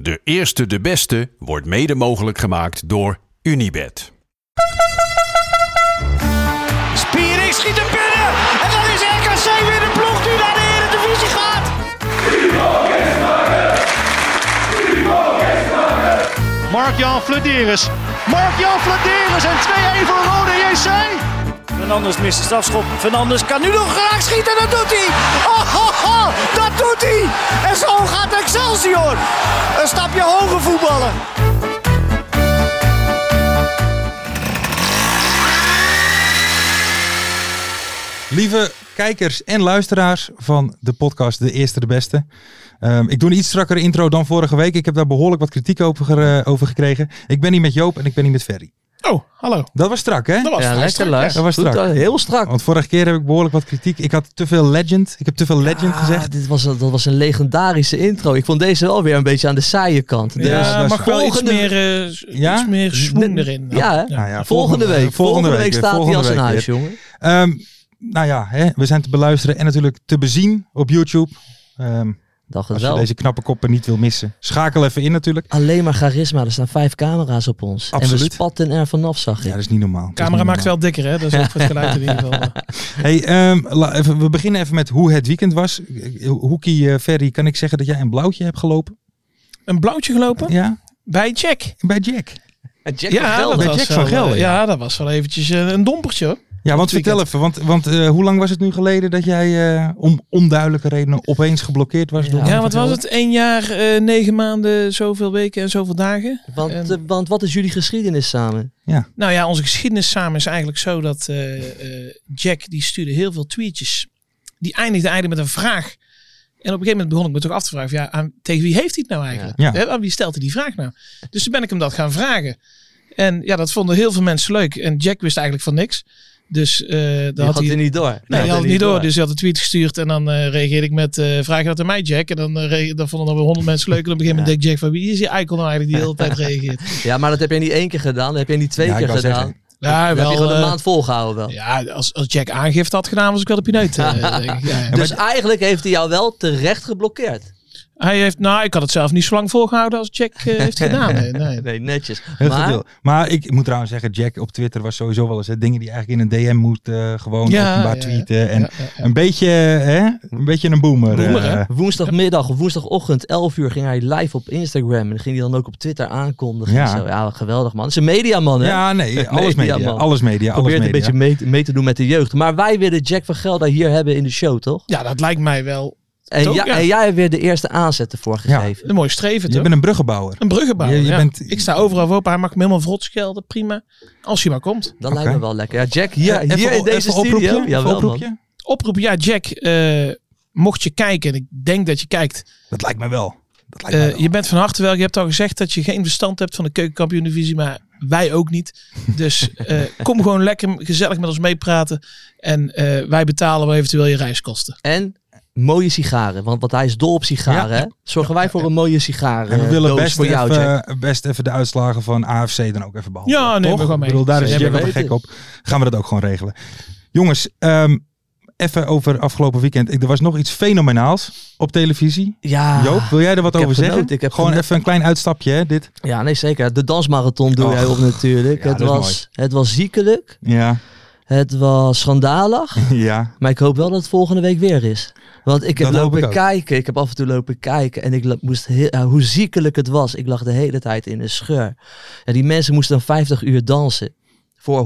De eerste de beste wordt mede mogelijk gemaakt door Unibed. Spiering schiet er binnen. En dan is RKC weer de ploeg die naar de Eredivisie gaat. Mark-Jan Flederis. Mark-Jan Flederis en 2-1 voor Rode JC. Fernandes mist de strafschop. Fernandes kan nu nog graag schieten. Dat doet hij. Oh, ho, ho, dat doet hij. En zo gaat Excelsior. Een stapje hoger voetballen. Lieve kijkers en luisteraars van de podcast De Eerste de Beste. Ehm, ik doe een iets strakkere intro dan vorige week. Ik heb daar behoorlijk wat kritiek over, ge- over gekregen. Ik ben niet met Joop en ik ben niet met Ferry. Oh, hallo. Dat was strak, hè? Dat was Ja, vrij lekker strak, Lars. Dat was Goed, strak. eh, heel strak. Want vorige keer heb ik behoorlijk wat kritiek. Ik had te veel legend. Ik heb te veel legend Ah, gezegd. Dit was, dat was een legendarische intro. Ik vond deze wel weer een beetje aan de saaie kant. Dus, dat is Ja, maar waar. wel iets Volgende- meer, eh Eh, Ja? iets meer N- schoen erin. ja, hè? Nou ja, volgende, week. Volgende week, weer. staat Volgende hij als een week huis, weer. jongen. Ehm, nou ja, hè, we zijn te beluisteren en natuurlijk te bezien op YouTube. Ehm, Dacht het als je wel. deze knappe koppen niet wil missen. Schakel even in natuurlijk. Alleen maar charisma. Er staan vijf camera's op ons. En we Absoluut. spatten er vanaf, zag Ja, ik. dat is niet normaal. Dat is De camera niet maakt normaal. wel dikker, hè? Dat is ook voor het geluid in ieder geval. Hey, ehm, la- even, we beginnen even met hoe het weekend was. Hoekie eh, Ferry, kan ik zeggen dat jij een blauwtje hebt gelopen? Een blauwtje gelopen Ja, bij Jack. bij Jack. Jack Ja, dat bij was Jack wel, van eh, Gelder, ja. Oh, Ja, dat was wel eventjes eh, een dompertje. hoor. Ja, want Goed vertel even, want, want eh, hoe lang was het nu geleden dat jij eh, om onduidelijke redenen opeens geblokkeerd was? door- Ja, Ja, wat was het? Eén jaar, eh, negen maanden, zoveel weken en zoveel dagen. Want, En- eh, want wat is jullie geschiedenis samen? Nou ja, onze geschiedenis samen is eigenlijk zo dat eh, eh, Jack die stuurde heel veel tweetjes. Die eindigde eigenlijk met een vraag. En op een gegeven moment begon ik me toch af te vragen: van, ja, aan, tegen wie heeft hij het nou eigenlijk? Ja. Ja. Hè, aan wie stelt hij die vraag nou? Dus toen ben ik hem dat gaan vragen. En ja, dat vonden heel veel mensen leuk. En Jack wist eigenlijk van niks. Dus eh Die daar had hij. niet door. Nee, die had het niet door. Dus hij had een tweet gestuurd en dan eh, reageerde ik met eh vraag je dat aan mij, Jack. En dan, eh, re- dan vonden dan weer honderd mensen leuk. En op een gegeven moment denkt Jack van wie is die icon nou eigenlijk die de hele tijd reageert. Ja, maar dat heb je niet één keer gedaan. Dat heb je niet twee Ja, ik keer wou gedaan. zeggen. Ja, dat heb je gewoon een eh, maand volgehouden wel. Ja, als, als Jack aangifte had gedaan, was ik wel de pineut. eh, denk ik. Ja, ja. Dus eigenlijk heeft hij jou wel terecht geblokkeerd. Hij heeft, nou, ik had het zelf niet zo lang volgehouden als Jack eh, heeft gedaan. Nee, nee. Nee, netjes. Heel goed maar deel. maar ik moet trouwens zeggen, Jack op Twitter was sowieso wel eens hè, dingen die eigenlijk in een DM moet eh, gewoon Ja, openbaar ja, tweeten. En Ja, ja, ja. een, beetje, hè, een beetje een boomer. Boomer, hè? eh, woensdagmiddag of woensdagochtend, 11 uur, ging hij live op Instagram. En dan ging hij dan ook op Twitter aankondigen. Ja. Ja, zo. ja wat geweldig man. Het is een mediaman, hè? ja, nee, alles Media, media. man. alles media, alles Probeert media. een beetje mee, te- mee te doen met de jeugd. Maar wij willen Jack van Gelder hier hebben in de show, toch? Ja, dat lijkt mij wel En, Toch, ja, ja. en jij hebt weer de eerste aanzet ervoor gegeven. een mooi streven, Je toch? bent een bruggenbouwer. Een bruggenbouwer. Je- je ja. bent- Ik sta overal voor op. Hij mag me helemaal vrot schelden. Prima. Als hij maar komt. Dat Oké. lijkt me wel lekker. Ja, Jack, hier, Even- hier in even deze oproepje, studio. even Jawel, man. oproepje. Oproep, ja, Jack. eh, mocht je kijken, en ik denk dat je kijkt. Dat lijkt me wel. Ah, Dat lijkt mij Eh, wel. je bent van harte wel. Je hebt al gezegd dat je geen verstand hebt van de keukenkampioen-divisie, maar wij ook niet. Dus eh, kom gewoon lekker gezellig met ons meepraten. En eh, wij betalen wel eventueel je reiskosten. En mooie sigaren. Want, want hij is dol op sigaren. hè? Zorgen wij voor een mooie sigaren. En we eh, willen doos best, voor jou, Jack. even, best even de uitslagen van AFC dan ook even behandelen. Ja, neem toch? we gewoon mee. Ik bedoel, daar is Zeker Jack wel weten. gek op. Gaan we dat ook gewoon regelen. Jongens, ehm, even over afgelopen weekend. Ik- Er was nog iets fenomenaals op televisie. Ja. Joop, wil jij er wat Ah, ik heb over zeggen? genoten, ik heb gewoon genoten. even een klein uitstapje, hè, dit. ja, nee zeker. De dansmarathon doe Och. jij op natuurlijk. Ja, het, dat is was, het was ziekelijk. Ja, Het was schandalig. ja. Maar ik hoop wel dat het volgende week weer is. Want ik heb Dat hoop lopen ik ook. kijken, ik heb af en toe lopen kijken en ik la- moest heel, eh, hoe ziekelijk het was. Ik lag de hele tijd in een scheur. Ja, die mensen moesten dan 50 uur dansen voor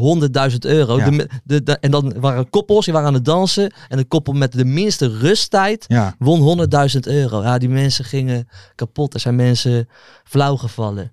100.000 euro. Ja. De me- de- de- en dan waren koppels, die waren aan het dansen en een koppel met de minste rusttijd Ja. won 100.000 euro. Ja, die mensen gingen kapot. Er zijn mensen flauw gevallen.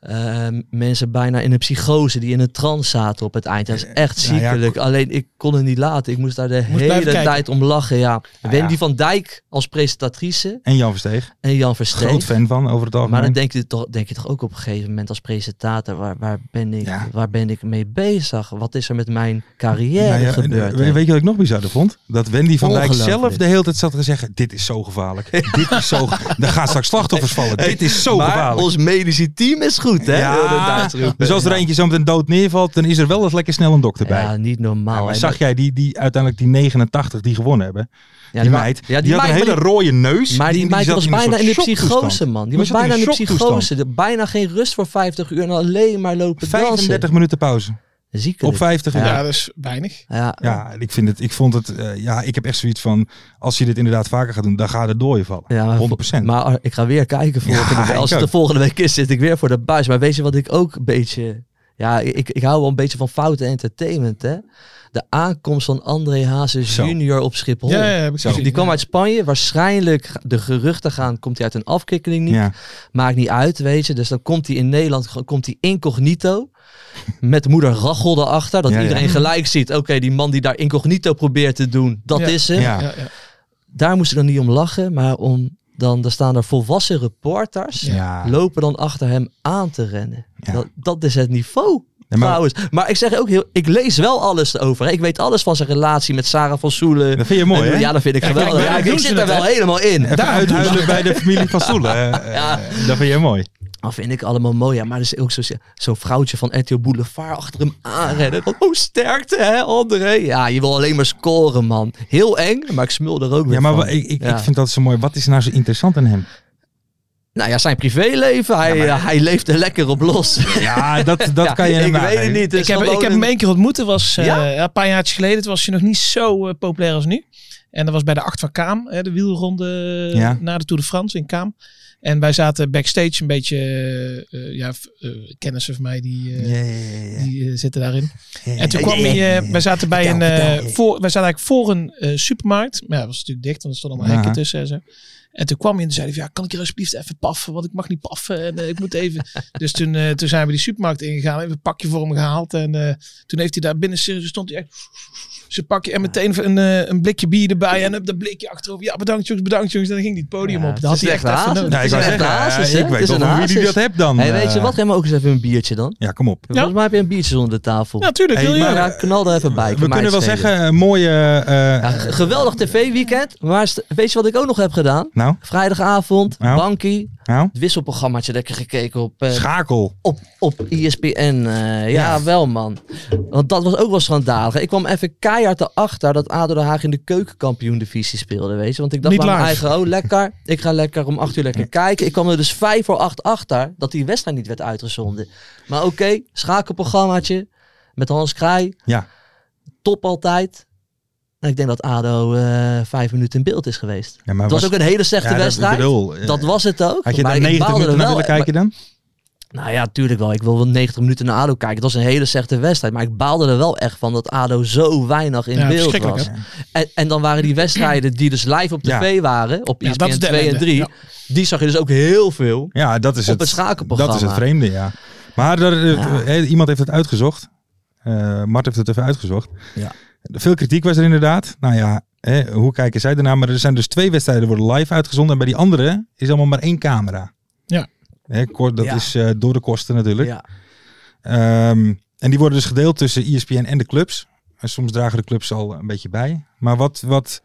Eh, mensen bijna in een psychose die in een trance zaten op het eind. Dat is echt Nou ja, ziekelijk. Alleen ik kon het niet laten. Ik moest daar de Moest hele blijven kijken. tijd om lachen. Ja. Nou Wendy ja. van Dijk als presentatrice En Jan Versteeg. en Jan Versteen. Groot fan van, over het algemeen. Maar dan denk je, toch, denk je toch ook op een gegeven moment als presentator, waar, waar, ben ik, Ja. waar ben ik mee bezig? Wat is er met mijn carrière Nou ja, gebeurd? we- weet je wat ik nog bizarder vond? Dat Wendy van Dijk Ongelooflijk. zelf de hele tijd zat te zeggen: Dit is zo gevaarlijk. Dit is zo. ge- Daar gaan straks slachtoffers vallen. Dit is zo maar gevaarlijk. ons medische team is goed, hè? Ja. wilde Duits roepen. Dus als er Ja. eentje zo meteen dood neervalt, dan is er wel eens lekker snel een dokter bij. Ja, niet normaal. Nou, en hè. zag jij die, die uiteindelijk die 89 die gewonnen hebben? Ja, die ma- meid. ja, die, had meid, een hele maar die- rode neus. Maar die, meid zat was een bijna soort in de shocktoeststand. psychose, man. Die Maar was zat bijna in de shocktoestand. psychose. De- Bijna geen rust voor 50 uur en alleen maar lopen 35 dansen. minuten pauze. Ziekelijk. Op 50 uur. Ja, Ja. dat is weinig. Ja. Ja. Ja, ik, vind het, ik vond het. eh, ja, ik heb echt zoiets van. Als je dit inderdaad vaker gaat doen, dan gaat het door je vallen. maar 100%. Maar eh, ik ga weer kijken volgende Ja, week. ik Als het ook. de volgende week is, zit ik weer voor de buis. Maar weet je wat ik ook een beetje... Ja, ik, ik hou wel een beetje van foute entertainment, hè. De aankomst van André Hazes Zo. junior op Schiphol. Ja, ja, heb ik Zo, gezien. Oh. Die kwam uit Spanje. Waarschijnlijk, de geruchten gaan, komt hij uit een afkikkeling niet. ja. Maakt niet uit, weet je. Dus dan komt hij in Nederland, ge- komt hij incognito. Met moeder Rachel erachter. Dat Ja, ja. iedereen gelijk ziet. Oké, die man die daar incognito probeert te doen, dat Ja. is hem. Ja. Ja, ja. Daar moest ik dan niet om lachen. Maar om dan, daar staan er volwassen reporters. Ja. Lopen dan achter hem aan te rennen. Ja. Dat, dat is het niveau. Ja, maar- trouwens. Maar ik zeg ook heel, ik lees wel alles over. Ik weet alles van zijn relatie met Sarah van Soelen. Dat vind je mooi, En- hè? Ja, dat vind ik Ja, geweldig. kijk, Ja, waarom ik doen ze zit er het, wel helemaal in. Even uithuilen bij de familie van Soelen. eh, dus. Ja. eh, Dat vind jij mooi. Dat vind ik allemaal mooi. Ja, maar er is ook zo- zo'n vrouwtje van RTL Boulevard achter hem aanrennen. Van, oh, sterkte hè, André. Ja, je wil alleen maar scoren, man. Heel eng, maar ik smul er ook weer Ja, maar van. wa- ik, ik, Ja. ik vind dat zo mooi. Wat is nou zo interessant aan hem? Nou ja, zijn privéleven, hij, eh, hij leeft er lekker op los. Ja, dat, dat Ja, kan je Ik hem weet het niet. dus Ik heb, ik heb hem één keer ontmoet. Dat was eh, Ja? ja, een paar jaar geleden. Het was je nog niet zo eh, populair als nu. En dat was bij de Acht van Kaam. Hè, de wielronde eh, Ja. na de Tour de France in Kaam. En wij zaten backstage een beetje... eh, eh, ja, v- eh, kennissen van mij die, eh, Ja, ja, ja, ja. die eh, zitten daarin. En toen ja, kwam ja, hij, ja, eh, ja. wij zaten bij een, Vertel, eh, vertel. voor, wij zaten eigenlijk voor een eh, supermarkt. Maar ja, dat was natuurlijk dicht, want er stonden allemaal Ja. hekken tussen en zo. En toen kwam hij en toen zei hij van, ja, kan ik hier alsjeblieft even paffen, want ik mag niet paffen en eh, ik moet even. dus toen, eh, toen zijn we die supermarkt ingegaan, hebben een pakje voor hem gehaald en eh, toen heeft hij daar binnen serieus stond hij echt zijn pakje en meteen een, eh, een blikje bier erbij en op dat blikje achterover. Ja, bedankt jongens, bedankt jongens. En dan ging hij het podium Ja, op. het Dat had is hij echt echt een even haast. nodig. Nou, ik Het wou is zeggen, een hazes, eh, hè? ik Het weet is wel een van wie die hazes. dat hebt dan. Hey, weet je eh. wat? Geef me ook eens even een biertje dan. Ja, kom op. Volgens mij heb je een biertje onder de tafel. Ja, tuurlijk. Hey, wil je. maar ja, knal er even bij. eh, We kan mij kunnen wel het schelen. zeggen, een mooie... eh, Ja, g- geweldig tv-weekend. Maar st- weet je wat ik ook nog heb gedaan? Nou, Vrijdagavond, Nou. Bankie, nou, het wisselprogrammaatje lekker gekeken op, eh, schakel. op, op E ESPN. eh ja, wel man. Want dat was ook wel schandalig. Ik kwam even keihard erachter dat ADO Den Haag in de keukenkampioen-divisie speelde, weet je. Want ik dacht Niet bij mijn live. eigen, oh lekker, ik ga lekker om acht uur lekker kijken. Ik kwam er dus vijf voor acht achter dat die wedstrijd niet werd uitgezonden. Maar oké, schakelprogrammaatje met Hans Krij, Ja. top altijd. En ik denk dat ADO eh, vijf minuten in beeld is geweest. Ja, maar Het was ook een hele slechte Ja, dat- wedstrijd. ik bedoel, eh, Dat was het ook. Had je Maar daar ik 90 baalde er minuten naar wel- willen kijken dan? maar- Nou ja, tuurlijk wel. Ik wil wel 90 minuten naar ADO kijken. Het was een hele slechte wedstrijd. Maar ik baalde er wel echt van dat ADO zo weinig in Ja, beeld verschrikkelijk, was. En, en dan waren die wedstrijden die dus live op Ja. tv waren, op E Ja, ESPN dat is de 2 en ellende. 3, Ja. die zag je dus ook heel veel. Ja, dat is Op het Dat schakelprogramma. is het vreemde, ja. Maar er, eh, eh, iemand heeft het uitgezocht. Eh Mart heeft het even uitgezocht. Ja. Veel kritiek was er inderdaad. Nou ja, hè, hoe kijken zij ernaar? Maar er zijn dus twee wedstrijden worden live uitgezonden. En bij die andere is allemaal maar één camera. Ja. Hè, kort, dat Ja. is eh, door de kosten natuurlijk. Ja. Ehm, en die worden dus gedeeld tussen ESPN en de clubs. En soms dragen de clubs al een beetje bij. Maar wat, wat,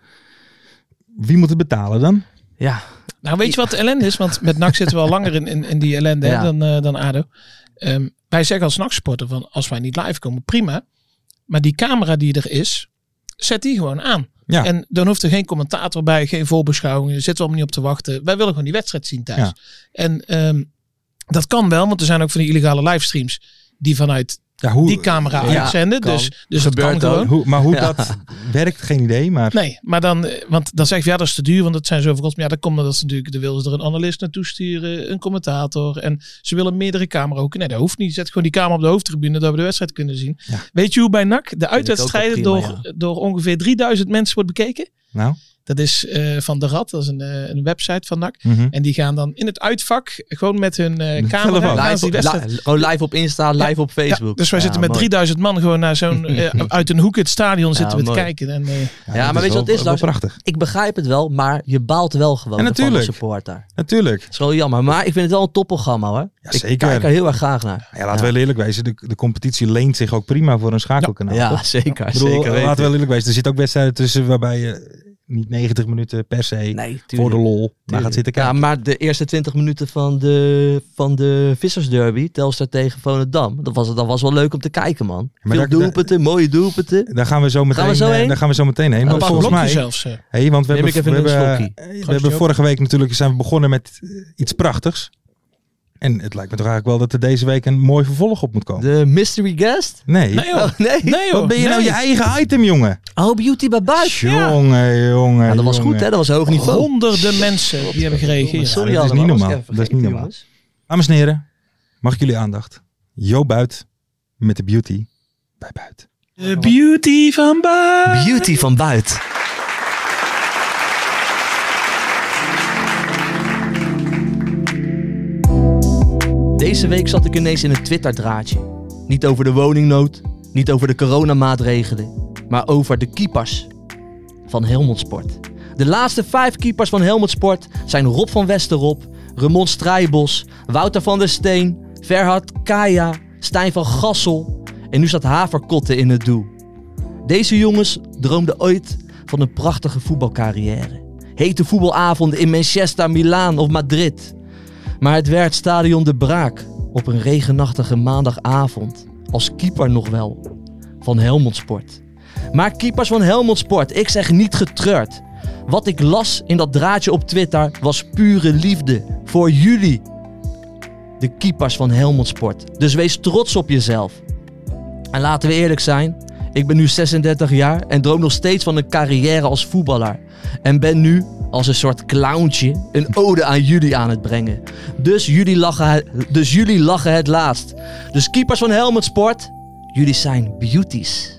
wie moet het betalen dan? ja. Nou, weet je wat de ellende is? Want met NAC zitten we al langer in, in, in die ellende hè, Ja. dan, eh, dan ADO. Ehm, wij zeggen als NAC-sporter van als wij niet live komen, prima. Maar die camera die er is, zet die gewoon aan. Ja. En dan hoeft er geen commentator bij, geen voorbeschouwing. Daar zitten we allemaal niet op te wachten. Wij willen gewoon die wedstrijd zien thuis. Ja. En ehm, dat kan wel, want er zijn ook van die illegale livestreams die vanuit Ja, hoe, die camera Ja, uitzenden. kan. Dus, dus het Gebeurt kan ook. gewoon. hoe, maar hoe Ja. dat werkt, geen idee. Maar Nee, maar dan, eh, want dan zeg je ja, dat is te duur, want dat zijn zoveel kosten. Maar ja, dat komt omdat ze natuurlijk, dan willen ze er een analist naartoe sturen, een commentator. En ze willen meerdere camera ook. Nee, dat hoeft niet. Zet gewoon die camera op de hoofdtribune, dat we de wedstrijd kunnen zien. Ja. Weet je hoe bij NAC de ik uitwedstrijden ook wel door, prima, door ongeveer 3000 mensen wordt bekeken? nou, Dat is eh, van De Rad, dat is een, eh, een website van NAC. mhm. En die gaan dan in het uitvak gewoon met hun eh, Met camera telefoon. gaan ze Live, die wedstrijd li- gewoon live op Insta, live op ja, Facebook. dus wij Ja, zitten met mooi. 3000 man gewoon naar zo'n, eh, uit een hoek het stadion zitten we te mooi. kijken. En, eh, Ja, dat maar weet je wat wel- het is, wel Lars? prachtig. Ik begrijp het wel, maar je baalt wel gewoon Ja, van de natuurlijk. supporter. Natuurlijk. Dat is wel jammer, maar ik vind het wel een topprogramma hoor. ik zeker. kijk er heel erg graag naar. Ja, laten we wel eerlijk wezen, de, de competitie leent zich ook prima voor een schakelkanaal. Ja, toch? zeker. Ik bedoel, zeker weten. laten we wel eerlijk wezen, er zitten ook wedstrijden tussen waarbij je niet 90 minuten per se Nee, voor tuurlijk. de lol maar Tuurlijk. gaat zitten Ja, kijken. maar de eerste 20 minuten van de, van de Vissersderby, Telstar tegen Volendam, dat was, dat was wel leuk om te kijken, man. Maar Veel daar- doelpunten, mooie doelpunten. Daar gaan we zo meteen, Gaan we zo eh, heen? Daar gaan we zo meteen heen. Een Want Pak volgens blokje mij, zelfs. eh. Hey, want we Neem hebben, ik even we een hebben, slokje. eh, we Gaat hebben je vorige week natuurlijk zijn we begonnen met eh, iets prachtigs. En het lijkt me toch eigenlijk wel dat er deze week een mooi vervolg op moet komen. De mystery guest? Nee. Nee, joh. Oh, nee. Nee, joh. Wat ben je nou Nee. Ah, je eigen item, jongen? Oh, Beauty by Buis. Ja. Jongen, jongen. Ja, Ah, dat was goed, jongen. hè? Dat was hoog niveau. Honderden mensen die hebben gereageerd. Sorry dat is allemaal, niet was ik normaal. even Dat is vergeten, niet normaal. jongens. Dames en heren, mag ik jullie aandacht? Jo Buit met de beauty bij Buit. De beauty van Baan. Beauty van buiten. Deze week zat ik ineens in een Twitter-draadje. Niet over de woningnood, niet over de coronamaatregelen, maar over de keepers van Helmond Sport. De laatste vijf keepers van Helmond Sport zijn Rob van Westerop, Ramon Strijbos, Wouter van der Steen, Verhard Kaya, Stijn van Gassel en nu staat Haverkotten in het doel. Deze jongens droomden ooit van een prachtige voetbalcarrière. Hete voetbalavonden in Manchester, Milaan of Madrid. Maar het werd stadion De Braak op een regenachtige maandagavond. Als keeper nog wel. Van Helmond Sport. Maar keepers van Helmond Sport, ik zeg niet getreurd. Wat ik las in dat draadje op Twitter was pure liefde voor jullie. De keepers van Helmond Sport. Dus wees trots op jezelf. En laten we eerlijk zijn, ik ben nu 36 jaar en droom nog steeds van een carrière als voetballer. En ben nu, als een soort clowntje, een ode aan jullie aan het brengen. Dus jullie lachen, het- dus jullie lachen het laatst. Dus keepers van Helmond Sport, jullie zijn beauties.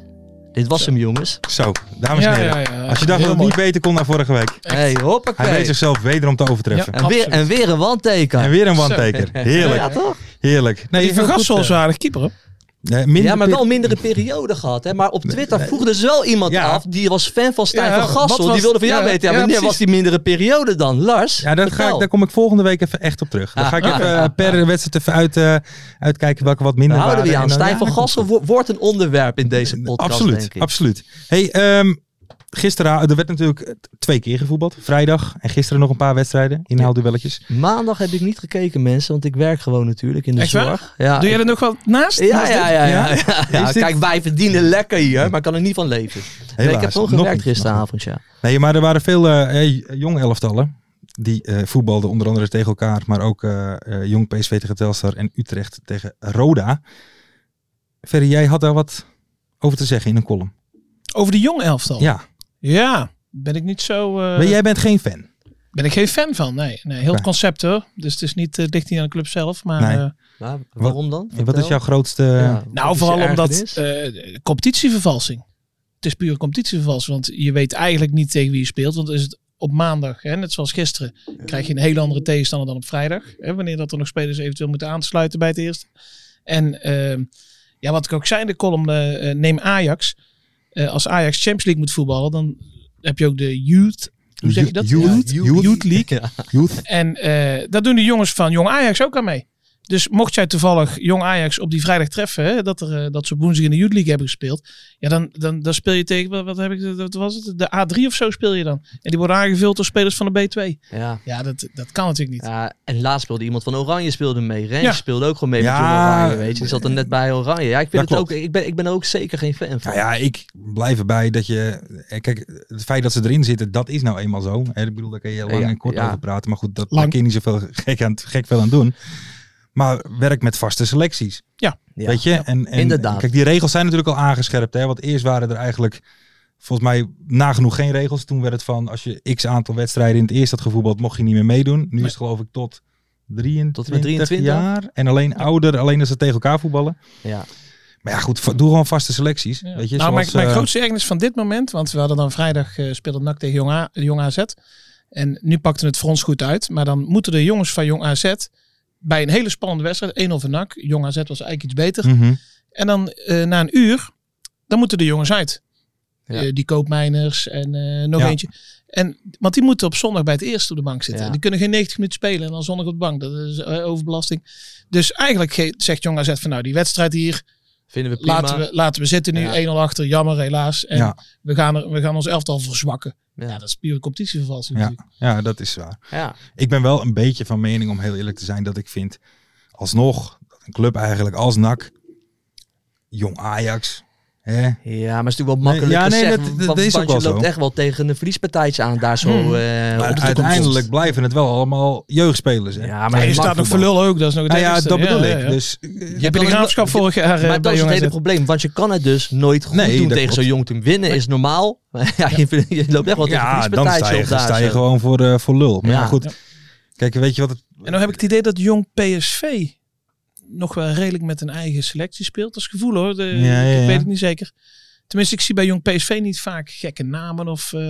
Dit was hem, jongens. Zo, dames en Ja, heren. ja, ja. Als je dacht Heel dat het mooi. niet beter kon dan vorige week. Hey, Hij hoppakee. weet zichzelf wederom te overtreffen. Ja. en, weer, en Absoluut. weer een wandteken. En weer een one-taker. Ja, Heerlijk, toch? heerlijk. Nee, Nee, die heel vergast goed, zoals eh, aardig keeper. hoor. eh, minder Ja, maar pit- wel een mindere periode gehad. Hè? Maar op Twitter vroeg dus wel iemand Ja. af. Die was fan van Stijn Ja, van wat Gassel. was- die wilde van jou ja, weten. ja, Ja, wanneer precies. was die mindere periode dan? Lars? Ja, dat ga ik, vertel. daar kom ik volende week even echt op terug. Dan ga ik Ah, even ah, eh, per wedstrijd even uit, eh, uitkijken welke wat minder Daar Nou, houden waren. we je aan. En dan- Stijn ja, van dat komt Gassel wo- wordt een onderwerp in deze podcast, Eh, absoluut, denk ik. absoluut. Hey, ehm, gisteren, er werd natuurlijk eh, twee keer gevoetbald. Vrijdag en gisteren nog een paar wedstrijden. Inhaalduelletjes. Maandag heb ik niet gekeken, mensen. Want ik werk gewoon natuurlijk in de Echt waar? zorg. Ja, Doe jij er nog wat naast? ja, Naast dit? ja, ja, ja, Ja? ja, ja. Is dit- Kijk, wij verdienen lekker hier, maar ik kan er niet van leven. Nee, ik heb Helaas, toch nog gewerkt niet, nog gisteravond, ja. Nee, maar er waren veel eh, eh, jong elftallen. Die eh, voetbalden onder andere tegen elkaar. Maar ook eh, eh, jong PSV tegen Telstar en Utrecht tegen Roda. Ferry, jij had daar wat over te zeggen in een column. Over de jong Oh. elftal. Ja, Ja, Ben ik niet zo. eh, maar jij bent geen fan. Ben ik geen fan van. Nee, nee heel Oké. het concept hoor. Dus het is niet, eh, het ligt niet aan de club zelf. Maar Nee. eh, Maar waarom dan? Wat is jouw eh, grootste... Nou, vooral omdat eh, competitievervalsing. Het is puur competitievervalsing. Want je weet eigenlijk niet tegen wie je speelt. Want is het op maandag, hè, net zoals gisteren, krijg je een hele andere tegenstander dan op vrijdag. Hè, wanneer dat er nog spelers eventueel moeten aansluiten bij het eerste. En ehm, ja, wat ik ook zei in de column, eh, eh, neem Ajax. Eh, als Ajax Champions League moet voetballen, dan heb je ook de youth. Hoe zeg je dat? Youth, youth. youth League. Youth. En eh dat doen de jongens van Jong Ajax ook aan mee. Dus mocht jij toevallig Jong Ajax op die vrijdag treffen, hè, dat, er, eh, dat ze op woensdag in de Youth League hebben gespeeld, ja, dan, dan, dan speel je tegen, wat, wat heb ik, wat was het? De A3 of zo speel je dan. En die worden aangevuld door spelers van de B2. Ja. Ja, dat, dat kan natuurlijk niet. Ja, en laatst speelde iemand van Oranje speelde mee. Rens Ja. speelde ook gewoon mee Ja. met Jong Oranje, weet je. Die zat er net bij Oranje. Ja, Dat ik, vind het ook, klopt. ik, ben, ik ben er ook zeker geen fan van. Nou ja, ik blijf erbij dat je... eh, Kijk, het feit dat ze erin zitten, dat is nou eenmaal zo. Hè, Ik bedoel, daar kun je lang Ja, en kort ja. over praten. Maar goed, dat, Lang. daar kun je niet zoveel gek, aan, gek veel aan doen. Maar werk met vaste selecties. Ja. Weet je? En, en, Inderdaad. Kijk, die regels zijn natuurlijk al aangescherpt. Hè? Want eerst waren er eigenlijk volgens mij nagenoeg geen regels. Toen werd het van als je x aantal wedstrijden in het eerst had gevoetbald, mocht je niet meer meedoen. Nu is het geloof ik tot 23, Tot en met 23. jaar. En alleen ouder, alleen als ze tegen elkaar voetballen. Ja. Maar ja, goed, va- doe gewoon vaste selecties. Ja. Weet je, nou, zoals, mijn, mijn eh, grootste ergernis van dit moment, want we hadden dan vrijdag eh speelde NAC tegen Jong, A- Jong AZ. En nu pakte het voor ons goed uit. Maar dan moeten de jongens van Jong AZ bij een hele spannende wedstrijd, 1-0 voor NAC. Jong AZ was eigenlijk iets beter. mhm. En dan eh, na een uur, dan moeten de jongens uit. Ja. Eh, die koopmijners en eh, nog Ja. eentje. En, want die moeten op zondag bij het eerste op de bank zitten. Ja. Die kunnen geen 90 minuten spelen en dan zondag op de bank. Dat is eh, overbelasting. Dus eigenlijk ge- zegt Jong AZ van nou, die wedstrijd hier Vinden we prima. laten we, laten we zitten nu. Ja. 1-0 achter, jammer helaas. En Ja. we, gaan er, we gaan ons elftal verzwakken. Ja. Ja, dat is pure competitievervalsing Ja. natuurlijk. ja, dat is waar. Ja. Ik ben wel een beetje van mening, om heel eerlijk te zijn, dat ik vind alsnog dat een club eigenlijk als NAC, jong Ajax, hè, Ja, maar het is natuurlijk wel makkelijk Nee, ja, nee, gezegd. dat- dat want- is want ook je wel loopt zo. echt wel tegen een verliespartijtje aan daar zo. eh, op de Maar toekomst. uiteindelijk blijven het wel allemaal jeugdspelers. Hè? Ja, Maar maar je het mag staat nog voor voetbal. lul ook. Dat is nog het nou ja, ergste. dat bedoel ja, ik. ja. Dus, Je hebt de dan- graafschap vorig jaar eh, Maar dat bij is het Jong hele AZ. probleem. Want je kan het dus nooit goed Nee, doen dat tegen zo'n klopt. jong team. Winnen is normaal. Maar ja, je, je loopt echt wel tegen een ja, dan sta verliespartijtje je, op daar. sta je zo. gewoon voor, eh, voor lul. Maar ja, Ja. goed. Kijk, weet je wat het... En dan heb ik het idee dat jong PSV nog wel redelijk met een eigen selectie speelt. Dat is gevoel hoor. De, Ja, ja, Ik ja. weet het niet zeker. Tenminste, ik zie bij jong PSV niet vaak gekke namen. Of, eh,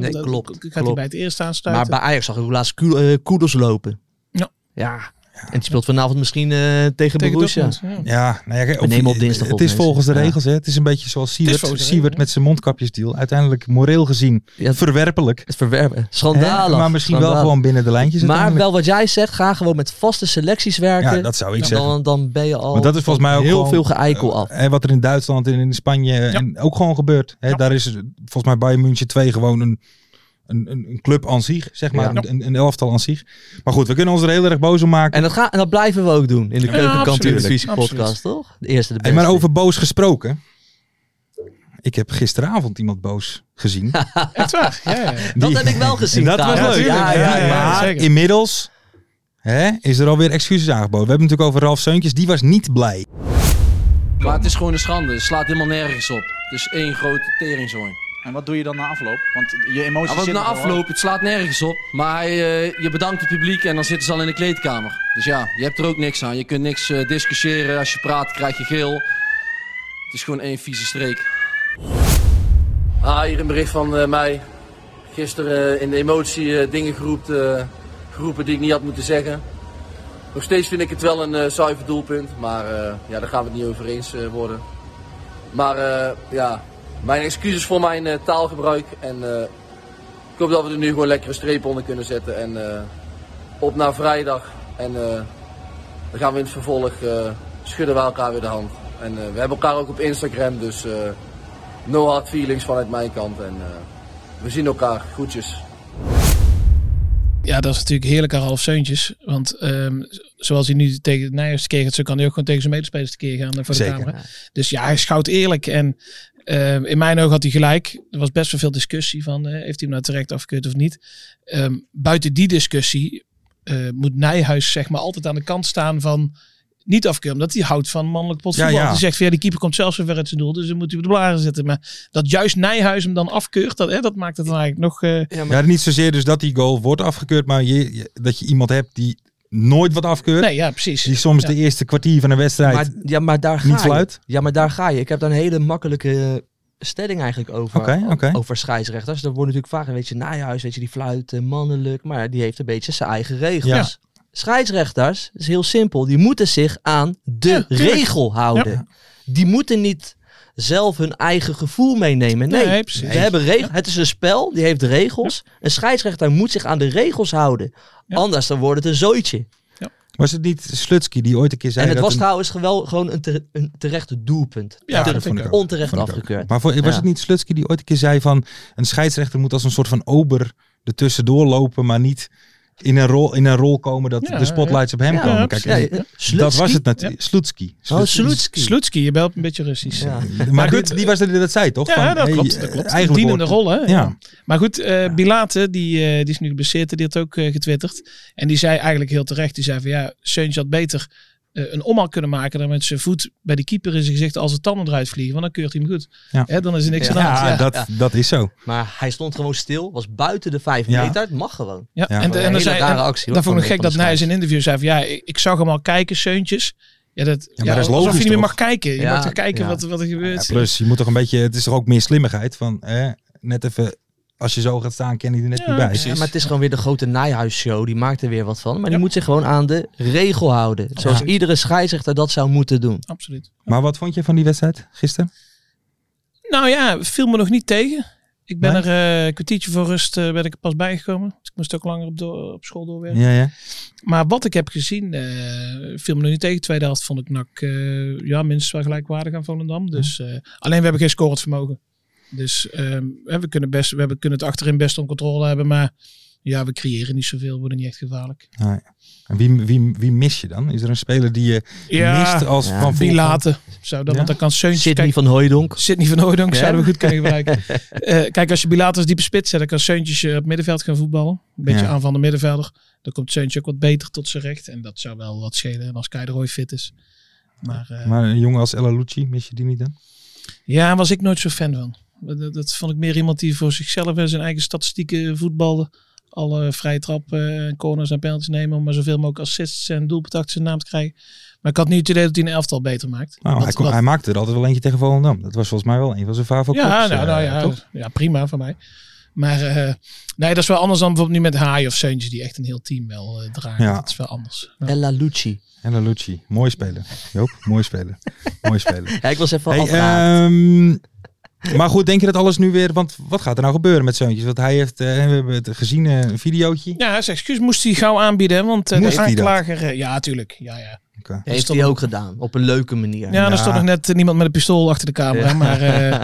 dat- klopt, Gaat klopt. hij bij het eerste Maar aansluiten? bij Ajax zag ik laatst Ku- eh, Koeders lopen. Ja. ja. En die speelt vanavond misschien eh, tegen tegen Borussia. Dortmund, ja. Ja, nou ja, kijk, We nemen op dinsdag Het op, is mensen. volgens de Ja. regels. Hè? Het is een beetje zoals Het is Siewert, volgens de Siewert regels, met zijn mondkapjesdeal. Uiteindelijk moreel gezien Ja, verwerpelijk. het verwerpen. hè, Schandalig. Maar misschien wel Schandalig. gewoon binnen de lijntjes Maar uiteindelijk. wel wat jij zegt, ga gewoon met vaste selecties werken. Ja, dat zou ik zeggen. dan, dan ben je al Maar dat is volgens mij ook heel gewoon- veel geëikel af. Hè, wat er in Duitsland en in Spanje en ook gewoon gebeurt. Hè, Daar is eh, volgens mij Bayern München 2 gewoon een, een, een een club aan zich, zeg maar. Ja. Een, een elftal aan zich. Maar goed, we kunnen ons er heel erg boos om maken. En dat, gaan, en dat blijven we ook doen in de Ja, Keukenkampioen absoluut. Divisie Absoluut. podcast, toch? De eerste de Hey, beste. maar over boos gesproken. Ik heb gisteravond iemand boos gezien. Echt waar? Ja, ja, ja. dat Die- heb ik wel En gezien. dat was trouwens. leuk. Ja, ja, ja. ja, maar zeker. inmiddels hè, is er alweer excuses aangeboden. We hebben het natuurlijk over Ralf Seuntjes. Die was niet blij. Maar het is gewoon een schande. Het slaat helemaal nergens op. Het is één grote teringzooi. En wat doe je dan na afloop? Want je emoties Ja, wat na zitten er wel. afloop, het slaat nergens op. Maar eh, je bedankt het publiek en dan zitten ze al in de kleedkamer. Dus ja, je hebt er ook niks aan. Je kunt niks eh, discussiëren. Als je praat krijg je geel. Het is gewoon één vieze streek. Ah, hier een bericht van eh, mij. Gisteren eh, in de emotie eh, dingen geroept, eh, geroepen die ik niet had moeten zeggen. Nog steeds vind ik het wel een eh, zuiver doelpunt. Maar eh, ja, daar gaan we het niet over eens eh, worden. Maar eh, ja, mijn excuses voor mijn eh, taalgebruik. En eh, ik hoop dat we er nu gewoon lekkere streep onder kunnen zetten. En eh, op naar vrijdag. En eh, dan gaan we in het vervolg eh, schudden we elkaar weer de hand. En eh, we hebben elkaar ook op Instagram, dus eh, no hard feelings vanuit mijn kant. En eh, we zien elkaar. Groetjes. Ja, dat is natuurlijk heerlijk aan Ralf Seuntjes. Want ehm, z- zoals hij nu tegen de Nijers keer gaat, zo kan hij ook gewoon tegen zijn medespelers tekeer gaan eh, voor de Zeker. camera. Dus ja, hij schouwt eerlijk. En ehm, in mijn ogen had hij gelijk. Er was best wel veel discussie van, eh, heeft hij hem nou terecht afgekeurd of niet. Ehm, buiten die discussie eh, moet Nijhuis zeg maar altijd aan de kant staan van niet afkeuren. Omdat hij houdt van mannelijk potvoetbal. Ja, ja. Hij zegt, van, ja, die keeper komt zelfs weer ver uit zijn doel. Dus dan moet hij op de blaren zitten. Maar dat juist Nijhuis hem dan afkeurt, dat, hè, dat maakt het dan eigenlijk nog... eh, Ja, niet zozeer dus dat die goal wordt afgekeurd. Maar je, je- dat je iemand hebt die nooit wat afkeurt. nee, ja, precies. Die soms Ja. de eerste kwartier van een wedstrijd... Maar, ja, maar daar ga Niet je. fluit? Ja, maar daar ga je. Ik heb daar een hele makkelijke eh, stelling eigenlijk over. Oké, oké. Over scheidsrechters. Er wordt natuurlijk vaak, weet je, Nijhuis, weet je, die fluit eh, mannelijk. Maar die heeft een beetje zijn eigen regels. Scheidsrechters, is heel simpel, die moeten zich aan de Ja, tuurlijk. regel houden. Die moeten niet zelf hun eigen gevoel meenemen. Nee, Nee, precies. we hebben regels. Het is een spel, die heeft regels. Een scheidsrechter moet zich aan de regels houden. Ja. Anders dan wordt het een zooitje. Was het niet Slutsky die ooit een keer zei... en het dat was een- trouwens gewel- gewoon een, tere- een terecht doelpunt. Ja, Ter- dat vind ik ook. onterecht Vond ik ook. afgekeurd. Maar voor, was Ja. het niet Slutsky die ooit een keer zei van... een scheidsrechter moet als een soort van ober ertussendoor lopen... maar niet in een rol, in een rol komen dat Ja, de spotlights op hem ja, komen. ja, Kijk, Ja, en ja. dat was het Slutsky? natuurlijk. Slutsky. Oh, Slutsky. Slutski. Slutski, je belt een beetje Russisch. Ja. Maar Maar die, goed, die was er die dat zei, toch? Ja, Van, dat hey, klopt. Dat klopt. eh, eigenlijk Dienende wordt- rol, hè? Ja. Maar goed, eh, Bilate, die, eh, die is nu geblesseerd, die had ook eh, getwitterd. En die zei eigenlijk heel terecht, die zei van ja, Seuntje had beter eh, een omhaal kunnen maken. Dan met zijn voet bij de keeper in zijn gezicht als de tanden eruit vliegen. Want dan keurt hij hem goed. Ja. Hè, dan is er niks aan de hand. Ja, Ja. dat, dat is zo. Maar hij stond gewoon stil, was buiten de vijf Ja. meter. Het mag gewoon. Ja, Ja. en, Een de- en dan hele zei, rare en- actie, hoor, dan vond ik van- gek van dat de Nij in een interview zei van ja, ik, ik zag hem al kijken, Seuntjes. Ja, dat, ja, maar dat is logisch, alsof je niet meer toch? mag kijken. Je Ja, mag toch kijken ja. wat, wat er Ja, gebeurt. plus, je moet toch een beetje, het is toch ook meer slimmigheid van, eh, net even, als je zo gaat staan, ken je er net Ja, niet bij. precies. Ja, maar het is gewoon weer de grote Nijhuis-show. Die maakt er weer wat van. Maar die moet zich gewoon aan de regel houden. Zoals Absoluut. iedere scheidsrechter dat zou moeten doen. Absoluut. Maar wat vond je van die wedstrijd gisteren? Nou ja, viel me nog niet tegen. Ik ben Nee? er eh, een kwartiertje voor rust eh, ben ik er pas bijgekomen. Dus ik moest ook langer op, door- op school doorwerken. Ja, ja. Maar wat ik heb gezien, eh, viel me nog niet tegen. Tweede helft vond ik NAC eh, ja, minstens wel gelijkwaardig aan Volendam. Dus, eh, alleen we hebben geen scorend vermogen. Dus ehm, hè, we, kunnen best, we hebben, kunnen het achterin best onder controle hebben. Maar ja, we creëren niet zoveel, worden niet echt gevaarlijk. En wie, wie, wie mis je dan? Is er een speler die je mist Ja, als Ja. van die Volendam? laten. Zou dat, Ja? Want dan kan Seuntjes... Sidney Kijk, van Hooijdonk. Sidney van Hooydonk Ja. zouden we goed kunnen gebruiken. Eh, kijk, als je Bilater als diepe spits zet, dan kan Seuntjes eh, op middenveld gaan voetballen. Een beetje Ja. aan van de middenvelder. Dan komt Seuntje ook wat beter tot zijn recht. En dat zou wel wat schelen als Kai de Roy fit is. Maar, eh, Maar een jongen als El Alouci, mis je die niet dan? ja, was ik nooit zo fan van. Dat, dat vond ik meer iemand die voor zichzelf en zijn eigen statistieken eh, voetbalde. Alle vrije trappen, corners en penalties nemen. Om maar zoveel mogelijk assists en doelpunten zijn naam te krijgen. Maar ik had niet het idee dat hij een elftal beter maakt. Nou, Wat- hij, kon- wat- hij maakte er altijd wel eentje tegen Volendam. Dat was volgens mij wel een van zijn favoriete ja, kops, nou, eh, nou ja, toch? ja, prima voor mij. Maar eh, nee, dat is wel anders dan bijvoorbeeld nu met Haai of Seuntje, die echt een heel team wel eh, dragen. Ja. Dat is wel anders. Ja. Ella Lucci. El Alouci, mooi speler. Joop, mooi speler. mooi speler. Ja, ik was even Hey, afgehaakt. ehm, maar goed, denk je dat alles nu weer... Want wat gaat er nou gebeuren met Zeuntjes? Want hij heeft, eh, we hebben het gezien, eh, een videootje. Ja, zijn excuus moest hij gauw aanbieden, hè, want eh, Moest de hij dat? aanklager... eh, ja, tuurlijk. Ja, ja. Oké. Heeft stond- hij ook gedaan. Op een leuke manier. Ja, Ja. er stond nog net eh, niemand met een pistool achter de camera. Ja. Maar eh,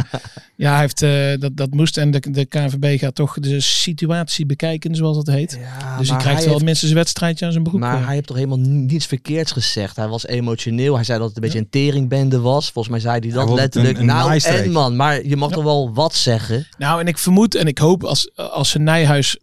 ja, hij heeft, eh, dat, dat moest. En de, de KNVB gaat toch de situatie bekijken, zoals dat heet. Ja, dus hij maar krijgt wel heeft- minstens een wedstrijdje aan zijn broek. Maar eh. hij heeft toch helemaal ni- niets verkeerds gezegd. Hij was emotioneel. Hij zei dat het een beetje een teringbende was. Volgens mij zei hij dat wilde het letterlijk. een- een nou, naaistreek. en man, maar je mag toch wel wat zeggen. Nou, en ik vermoed en ik hoop als, als ze Nijhuis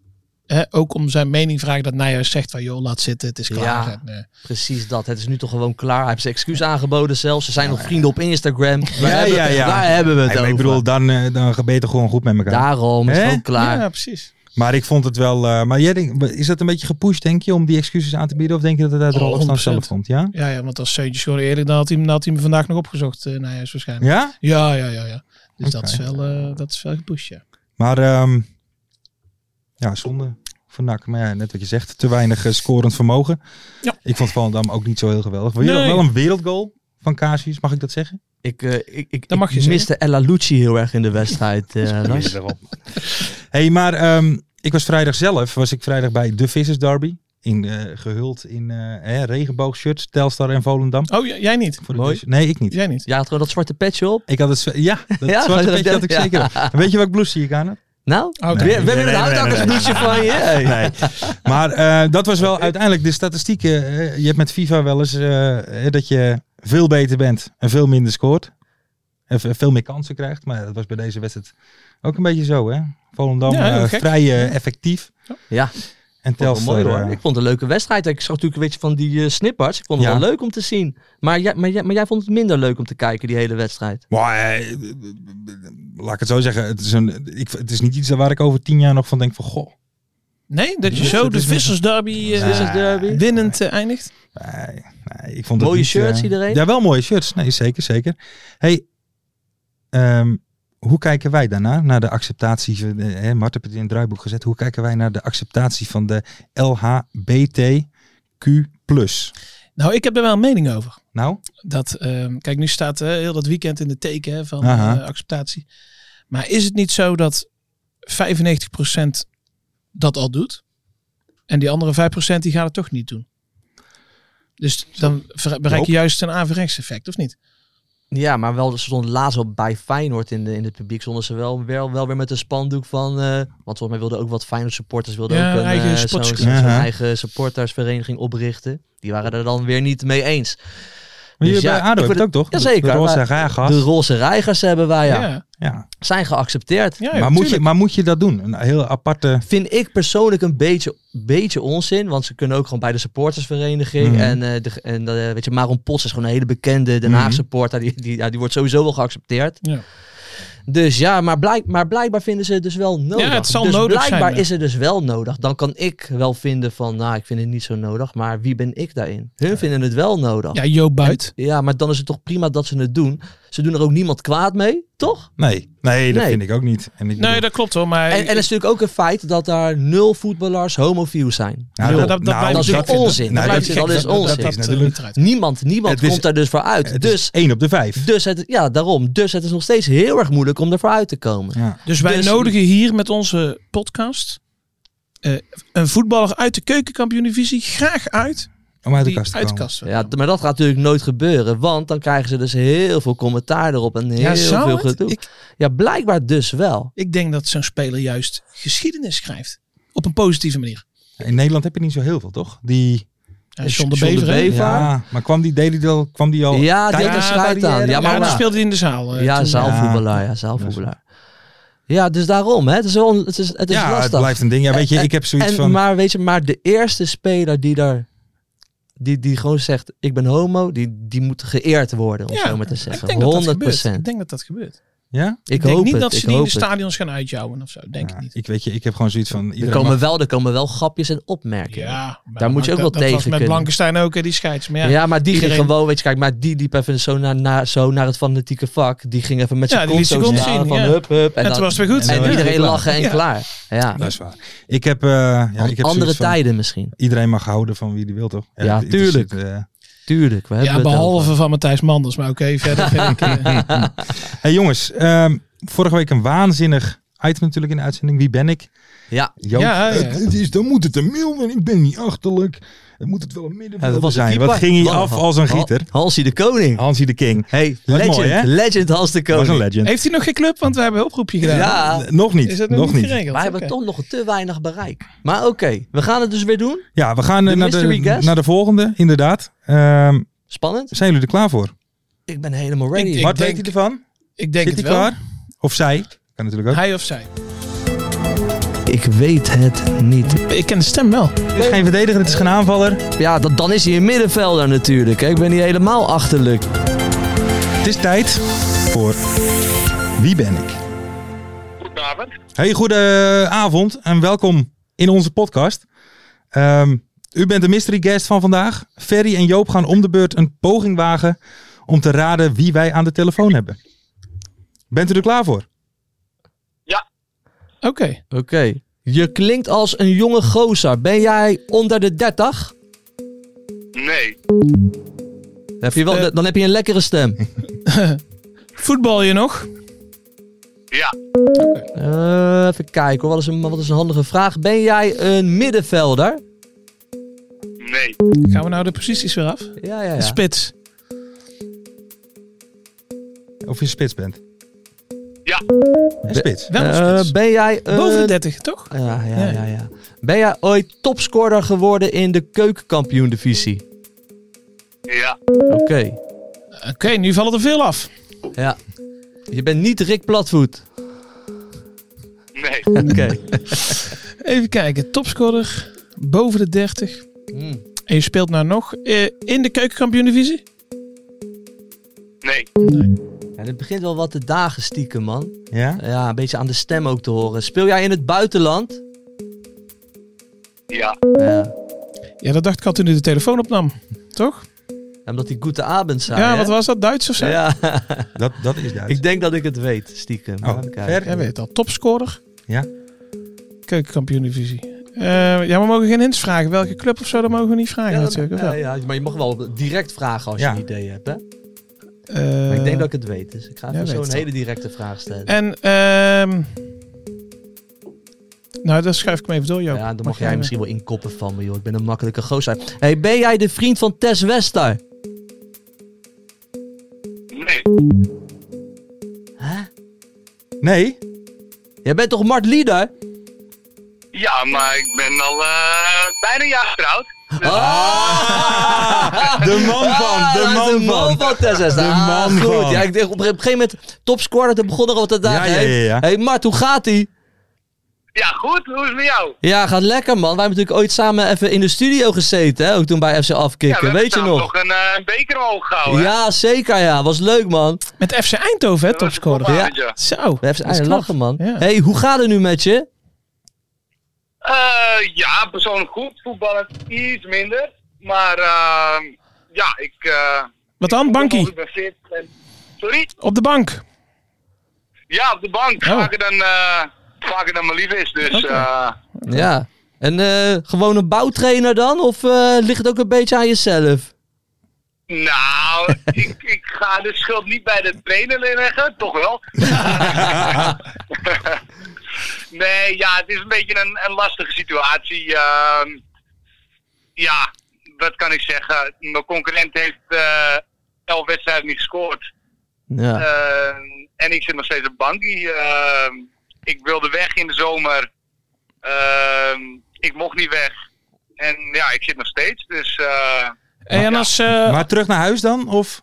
hè, ook om zijn mening vragen, dat Nijhuis zegt van joh, laat zitten, het is klaar. Ja. En, eh, Precies dat. Het is nu toch gewoon klaar. Hij heeft zijn excuus aangeboden zelfs. Ze zijn nog vrienden op Instagram. Daar, hebben, ja, ja. daar hebben we het Hey, maar over. ik bedoel, dan, eh, dan ga- beter gewoon goed met elkaar. Daarom is het Hè? gewoon klaar. ja, precies. Maar ik vond het wel... eh, maar jij denkt, is dat een beetje gepusht, denk je, om die excuses aan te bieden? Of denk je dat het uit Oh, de Rolf zelf 100%. komt? Ja? Ja, ja, want als Seuntjes gewoon eerlijk, dan had hij, hem- dan had hij me vandaag nog opgezocht, eh, Nijhuis waarschijnlijk. Ja? Ja, ja, ja. ja. Dus dat, is Oké. wel, eh, dat is wel gepusht, ja. Maar ehm, ja, zonde van NAC. Maar ja, net wat je zegt, te weinig eh, scorend vermogen. Ja. Ik vond Volendam ook niet zo heel geweldig. Wel, Nee. wel een wereldgoal van Casius, mag ik dat zeggen? Ik, eh, ik, ik, Dat ik mag je miste Ella Lucci heel erg in de wedstrijd. eh, Lars. hey, maar ehm, ik was vrijdag zelf, was ik vrijdag bij de Vissers Derby. In, eh, gehuld in eh, hè, regenboogshirts, Telstar en Volendam. Oh, j- jij niet? Voor de Mooi. Vissers- Nee, ik niet. Jij niet? ja, had gewoon dat zwarte petje op. Ik had het, zwa- ja, dat Ja, zwarte petje had ik ja. zeker. En Weet je welk blouse zie ik aan heb? Nou, Oh, we, we hebben nee, een nee, houtakkersbloesje van je. Hey. Nee. Maar eh, dat was wel uiteindelijk de statistieken. eh, je hebt met FIFA wel eens eh, eh, dat je veel beter bent en veel minder scoort. En ve- veel meer kansen krijgt. Maar dat was bij deze wedstrijd ook een beetje zo. Hè? Volendam Ja, heel eh, gek. vrij eh, effectief. Ja. En Vond ik wel Telstar. mooi, hoor. eh, Ik vond het een leuke wedstrijd. Ik zag natuurlijk een beetje van die eh, snipparts. Ik vond het Ja. wel leuk om te zien. Maar jij, maar, jij, maar jij vond het minder leuk om te kijken, die hele wedstrijd. maar, eh, laat ik het zo zeggen. Het is, een, ik, het is niet iets waar ik over tien jaar nog van denk van... Goh, Nee, dat je Dus zo dat de is niet- vissersderby eh, Vissers Derby. winnend eh, eindigt. Nee, nee, ik vond het Mooie niet, shirts, eh, iedereen? Ja, wel mooie shirts. Nee, zeker, zeker. Hey, ehm, hoe kijken wij daarna naar de acceptatie? van de- Hè, Mart heeft het in het draaiboek gezet. Hoe kijken wij naar de acceptatie van de LHBTQ+. Nou, ik heb er wel een mening over. Nou, Dat, ehm, kijk, nu staat eh, heel dat weekend in de teken hè, van Aha. eh, acceptatie. Maar is het niet zo dat 95% dat al doet? En die andere 5% die gaat het toch niet doen? Dus dan ver- bereik je juist een averechts effect, of niet? Ja, maar wel, ze stonden laatst al bij Feyenoord in, de, in het publiek. Stonden ze wel, wel, wel weer met een spandoek van... eh, want volgens mij wilden ook wat Feyenoord supporters... Wilden Ja, ook een, eigen eh, zo'n- sports- zo'n- zo'n Ja. eigen supportersvereniging oprichten. Die waren er dan weer niet mee eens. maar Dus je ja, bij ADO ik hebt word- het ook toch? Jazeker, De roze maar- raar gas. De roze reigers hebben wij, ja. Ja. Ja. zijn geaccepteerd. Ja, maar, moet je, maar moet je dat doen? Een heel aparte... Vind ik persoonlijk een beetje, beetje onzin. Want ze kunnen ook gewoon bij de supportersvereniging. Mhm. En, eh, de, en eh, weet je, Maron Potts is gewoon een hele bekende Den Haag Mhm. supporter. Die, die, ja, die wordt sowieso wel geaccepteerd. Ja. Dus ja, maar, blijk, maar blijkbaar vinden ze het dus wel nodig. Ja, het zal dus nodig zijn, blijkbaar ja. is het dus wel nodig. Dan kan ik wel vinden van, nou, ik vind het niet zo nodig. Maar wie ben ik daarin? Hun vinden het wel nodig. Ja, Joop Buit. Ja, maar dan is het toch prima dat ze het doen. Ze doen er ook niemand kwaad mee, toch? Nee, nee dat Nee. vind ik ook niet. En ik bedoel- Nee, dat klopt wel, maar... En, en het is natuurlijk ook een feit dat daar nul voetballers homofiel zijn. Nou, Ja, dat- dat- dat nou, blijft dat is natuurlijk vind- onzin. nou, Dat dat blijft- dat is Dat onzin. is eh, natuurlijk... niet eruit. Niemand, niemand Het is- komt daar dus voor uit. Het is Dus, 1 op de 5. dus het, ja, daarom. Dus het is nog steeds heel erg moeilijk om er voor uit te komen. Ja. Dus wij Dus- nodigen hier met onze podcast eh, een voetballer uit de keukenkampioen-divisie graag uit. Om uit de die kast te uit de komen. kast wil. Ja, d- maar dat gaat natuurlijk nooit gebeuren. Want dan krijgen ze dus heel veel commentaar erop en heel Ja, zou veel het? gedoe. Ik, Ja, blijkbaar dus wel. ik denk dat zo'n speler juist geschiedenis schrijft. Op een positieve manier. In Nederland heb je niet zo heel veel, toch? Die... Ja, John de John de Bever. hè? Bever. Eva? Ja, maar kwam die, deed die al, kwam die al... Ja, die tijdens had een de schijt aan. carrière? Ja, Ja, maar dan nou. speelde hij in de zaal. eh, Ja, toen. zaalvoetballaar. Ja, zaalvoetballaar. Ja, dus daarom. Hè. Het is, wel, het is, het is ja, lastig. het blijft een ding. Ja, weet je, En- ik heb zoiets en, van... Maar weet je, maar de eerste speler die daar... Die, die gewoon zegt, ik ben homo, die, die moet geëerd worden, om Ja, zo maar te Ik zeggen. denk dat dat 100 gebeurt. Ik denk dat dat gebeurt. Ik, ja? Ik, denk hoop niet het, dat ze ik die in hoop de het. stadions gaan uitjouwen of zo. Denk Ja, ik niet. Ik weet je, ik heb gewoon zoiets van... Er iedereen mag- komen, wel, er komen wel grapjes en opmerkingen. Ja, Ja, maar Daar moet je ook wel dat- dat tegen was met kunnen. Blankenstein ook, hè, die scheids. Maar ja, maar die iedereen- ging gewoon, weet je, kijk, maar die liep even zo naar, naar, zo naar het fanatieke vak. Die ging even met Ja, zijn die kont liet zo zijn kont staan, zien, van ja. hup, hup. En, en toen dan- was het weer goed. en Ja. iedereen klaar. lachen en Ja. klaar. Ja. Dat is waar. Ik heb... eh, ja, ik heb Andere zoiets van, tijden misschien. Iedereen mag houden van wie die wil, toch? Ja, het- het is tuurlijk. het, eh. Tuurlijk, we hebben Ja, het behalve over. van Matthijs Manders. Maar oké, verder vind ik... eh, Hey jongens, ehm, vorige week een waanzinnig item natuurlijk in de uitzending. Wie ben ik? Ja. Joop, Ja, ja. eh, het is, dan moet het een mail en ik ben niet achterlijk. Het moet het wel een middenveld Dat was zijn. keeper. Wat ging hij Man, af als een Han- gieter? Hansie de Koning. Hansie de King. Hey, Dat is legend, mooi, hè? legend Hans de was Koning. een legend. Heeft hij nog geen club? Want we hebben een oproepje gedaan. Ja, Eh, nog niet. Is dat nog, nog niet. geregeld? wij hebben Oké. toch nog te weinig bereik. Maar oké, we gaan het dus weer doen. Ja, we gaan eh, De naar, de, mystery guest? naar de volgende, inderdaad. Ehm, Spannend. zijn jullie er klaar voor? Ik ben helemaal ready. Ik Wat denk- weet hij ervan? Ik denk Zit het hij wel. klaar? Of zij? Kan natuurlijk ook. Hij of zij. Ik weet het niet. Ik ken de stem wel. Het is geen verdediger, het is geen aanvaller. Ja, dat, dan is hij een middenvelder natuurlijk. Hè. Ik ben niet helemaal achterlijk. Het is tijd voor Wie ben ik? Goedenavond. Hey, goedenavond en welkom in onze podcast. Ehm, u bent de mystery guest van vandaag. Ferry en Joop gaan om de beurt een poging wagen om te raden wie wij aan de telefoon hebben. Bent u er klaar voor? Oké. Oké. Je klinkt als een jonge gozer. Ben jij onder de 30? Nee, Dan heb je, wel, Eh. dan heb je een lekkere stem. Voetbal je nog? ja, Eh, even kijken hoor, wat is, een, wat is een handige vraag. Ben jij een middenvelder? nee, Gaan we nou de posities weer af? Ja, ja, ja. Spits. Of je spits bent? Ja. Een spits. Wel een Eh, spits. ben jij een... Boven de 30, toch? Ja, ja, Ja. ja, ja. Ben jij ooit topscorer geworden in de keukenkampioen-divisie? ja, Oké. Oké, nu vallen er veel af. Ja. Je bent niet Rick Platvoet. nee, Oké. Even kijken. Topscorer. Boven de 30. Hmm. En je speelt nou nog eh, in de keukenkampioen-divisie? nee, Ja, dit begint wel wat te dagen stiekem, man. Ja? Ja, een beetje aan de stem ook te horen. Speel jij in het buitenland? ja, Ja. Ja, dat dacht ik al toen hij de telefoon opnam. Toch? Omdat die Goede Abend zei, ja, hè? wat was dat? Duits of zo? Nou Ja, Dat, dat is duidelijk. ik denk dat ik het weet, stiekem. Oh, Even kijken. ver. Jij weet het al. Topscorer. Ja. Keukenkampioen-divisie. Eh, ja, we mogen geen hints vragen. Welke club of zo, dat mogen we niet vragen Ja, natuurlijk. of wel? ja, ja, maar je mag wel direct vragen als Ja. je een idee hebt, hè? Maar Eh, ik denk dat ik het weet, dus ik ga jij even zo weet een het hele directe vraag stellen. En, ehm nou, dat schuif ik me even door, Joop. Ja, dan Mag mag jij jij misschien wel inkoppen van me, joh. Ik ben een makkelijke gozer. Hey, ben jij de vriend van Tess Wester? nee, Hè? Nee? Jij bent toch Mart Lieder? ja, maar ik ben al eh, bijna een jaar getrouwd. De man van, de Ah, dat is man van. van Tessas. De Ah, man goed. van. Ja, ik dacht op een gegeven moment topscorer, dat begon er al wat dagen. Ja, ja, ja, Hé, ja. hey, Mart, hoe gaat ie? Ja, goed. Hoe is het met jou? Ja, gaat lekker man. Wij hebben natuurlijk ooit samen even in de studio gezeten, hè? ook toen bij FC Ja, we Afkikken, hebben weet je samen nog? toch een, eh, een beker omhoog gehouden. hè? Ja, zeker ja. Was leuk man. Met FC Eindhoven, hè, topscorer. een Ja. topavondje. Zo. We hebben dat is eigenlijk lachen man. Ja. hey, hoe gaat het nu met je? Eh, ja, persoonlijk goed. Voetballen iets minder. Maar eh, ja, ik... eh, Wat dan, bankie? Ik ben fit. en- Sorry? Op de bank. Ja, op de bank. Oh. Vaker, dan, eh, vaker dan mijn lief is. Dus eh, Ja. En eh, gewoon een bouwtrainer dan? Of eh, ligt het ook een beetje aan jezelf? nou, ik, ik ga de schuld niet bij de trainer leggen. Toch wel. nee, ja, het is een beetje een, een lastige situatie. Ehm, ja, wat kan ik zeggen? Mijn concurrent heeft eh elf wedstrijden niet gescoord. Ja. Eh, en ik zit nog steeds op bankie. Ehm, ik wilde weg in de zomer. Ehm, ik mocht niet weg. En ja, ik zit nog steeds. Dus eh, En Jan, als... eh, Maar terug naar huis dan? Of?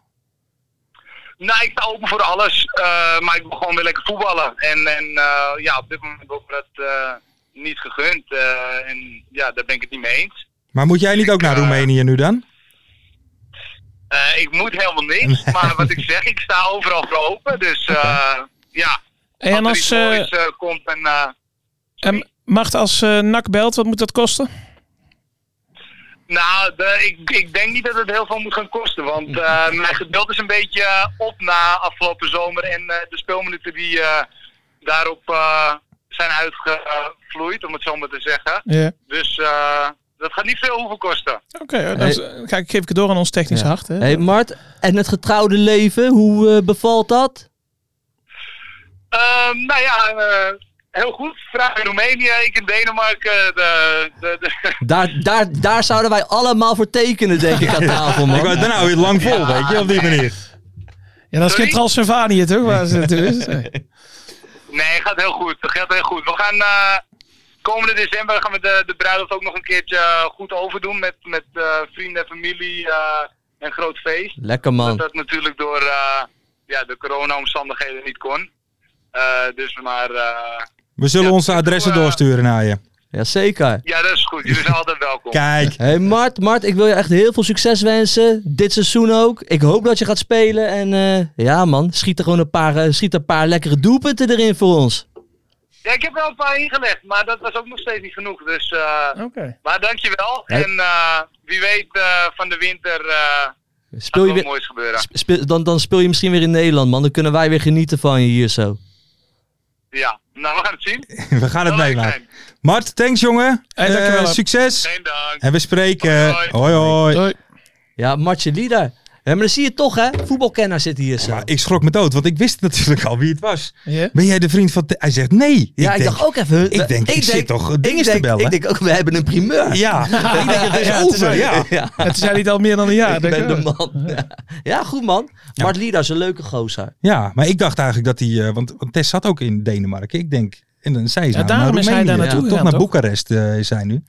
nou, ik sta open voor alles. Eh, maar ik wil gewoon weer lekker voetballen. En, en eh, ja, op dit moment wordt me dat eh, niet gegund. Eh, en ja, daar ben ik het niet mee eens. Maar moet jij niet ook naar eh, Roemenië nu dan? Eh, ik moet helemaal niks. Maar wat ik zeg, ik sta overal voor open. Dus eh, ja, en Jan, er als... iets moois eh, eh, komt en... eh, en Mart, als eh NAC belt, wat moet dat kosten? Nou, de- ik, ik denk niet dat het heel veel moet gaan kosten. Want eh, mijn geduld is een beetje eh, op na afgelopen zomer. En eh, de speelminuten die eh, daarop eh, zijn uitgevloeid, om het zo maar te zeggen. Ja. Dus eh, dat gaat niet veel hoeven kosten. Oké, hoor, dan Hey. z- eh, ga ik, geef ik het door aan ons technisch hart. Hè. Hé hey, Mart, en het getrouwde leven, hoe eh, bevalt dat? Ehm, nou ja, eh, heel goed. Vraag in Roemenië, ik in Denemarken. De, de, de, Daar, daar, daar zouden wij allemaal voor tekenen, denk ik, aan tafel, man. Ik wou, dan hou je het lang vol, weet je, op die manier. Ja, dat is geen Sorry? Transylvanië, toch? Waar ze naartoe is. Nee. Nee, gaat heel goed. Dat gaat heel goed. We gaan eh, komende december gaan we de, de bruiloft ook nog een keertje eh, goed overdoen met, met eh, vrienden en familie eh, en groot feest. Lekker Dat man. dat natuurlijk door eh, ja, de corona-omstandigheden niet kon. Eh, dus maar, eh, We zullen Ja, onze ik adressen doe, eh, doorsturen naar je. Jazeker. ja, dat is goed. Jullie zijn altijd welkom. Kijk. Hé hey Mart, Mart, ik wil je echt heel veel succes wensen. Dit seizoen ook. Ik hoop dat je gaat spelen. En eh, ja man, schiet er gewoon een paar, eh, schiet een paar lekkere doelpunten erin voor ons. Ja, ik heb er al een paar ingelegd, maar dat was ook nog steeds niet genoeg. Dus, eh, Oké. Maar dankjewel. Hey. En eh, wie weet eh, van de winter eh, Speel gaat je er wat weer, moois gebeuren. speel- dan, dan speel je misschien weer in Nederland man. Dan kunnen wij weer genieten van je hier zo. Ja, nou we gaan het zien. We gaan het Zal leuk meemaken. zijn. Mart, thanks jongen. Hey, dankjewel. Eh, succes. Geen dank. En we spreken. Hoi, Hoi hoi. Doei. Ja, Martje Lieder. Hé, maar dan zie je toch hè, voetbalkenner zit hier zo. Maar ik schrok me dood, want ik wist natuurlijk al wie het was. Ja. Ben jij de vriend van... Te- Hij zegt nee. ja, ik denk- dacht ook even. eh, ik denk, ik zit toch dingen te denk- bellen. Ik denk ook, we hebben een primeur. Ja, ik denk het is ja, het is over. ook- Ja. Ja. En toen zei hij het al meer dan een jaar. ik denk ben wel. de man. Ja, Ja, goed man. Mart Lieder is een leuke gozer. ja, maar ik dacht eigenlijk dat hij... eh, want, want Tess zat ook in Denemarken. Ik denk... En dan zei ze Ja, nou, daarom naar is hij Roemenië. daar naartoe Toch gegaan, naar toch? Boekarest eh, is hij nu.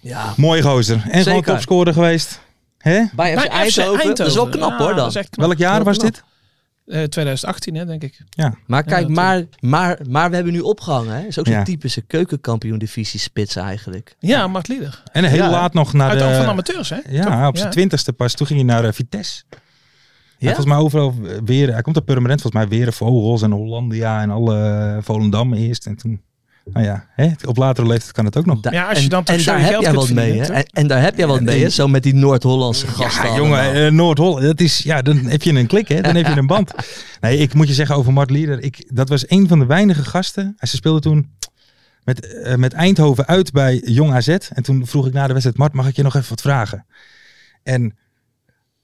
Ja, Mooi gozer. En gewoon Zeker. topscorer geweest. Hè? Bij FC Bij FC Eindhoven. Dat is wel knap Ja, hoor dat dan. is echt knap. Welk jaar Heel was knap. dit? Eh, 2018, hè, denk ik. Maar kijk, dat maar, maar, maar we hebben nu opgehangen. Hè? Is ook zo'n Ja. typische keukenkampioen divisie spits eigenlijk. Ja, Mart Lieder. En heel Ja. laat nog naar Uit de oog van de... amateurs, hè? Ja, op zijn twintigste pas. Toen ging hij naar eh, Vitesse. Ja? Ja? volgens mij overal eh, weer. Hij komt er permanent volgens mij weer Vogels en Hollandia en alle eh, Volendam eerst. En toen, nou ja, hè, op latere leeftijd kan het ook nog. Da- Ja, als je en- dan toch en zo daar je heb geld jij kunt wat mee. verdienen, Hè? toch? En, en daar heb jij wat mee, hè? Zo met die Noord-Hollandse gasten. Ja, allemaal. jongen, eh, Noord-Holland, dat is, ja, dan heb je een klik, hè? dan heb je een band. Nee, ik moet je zeggen over Mart Lieder, ik, dat was een van de weinige gasten. Hij ze speelde toen met, eh, met Eindhoven uit bij Jong AZ. En toen vroeg ik na de wedstrijd, Mart, mag ik je nog even wat vragen? En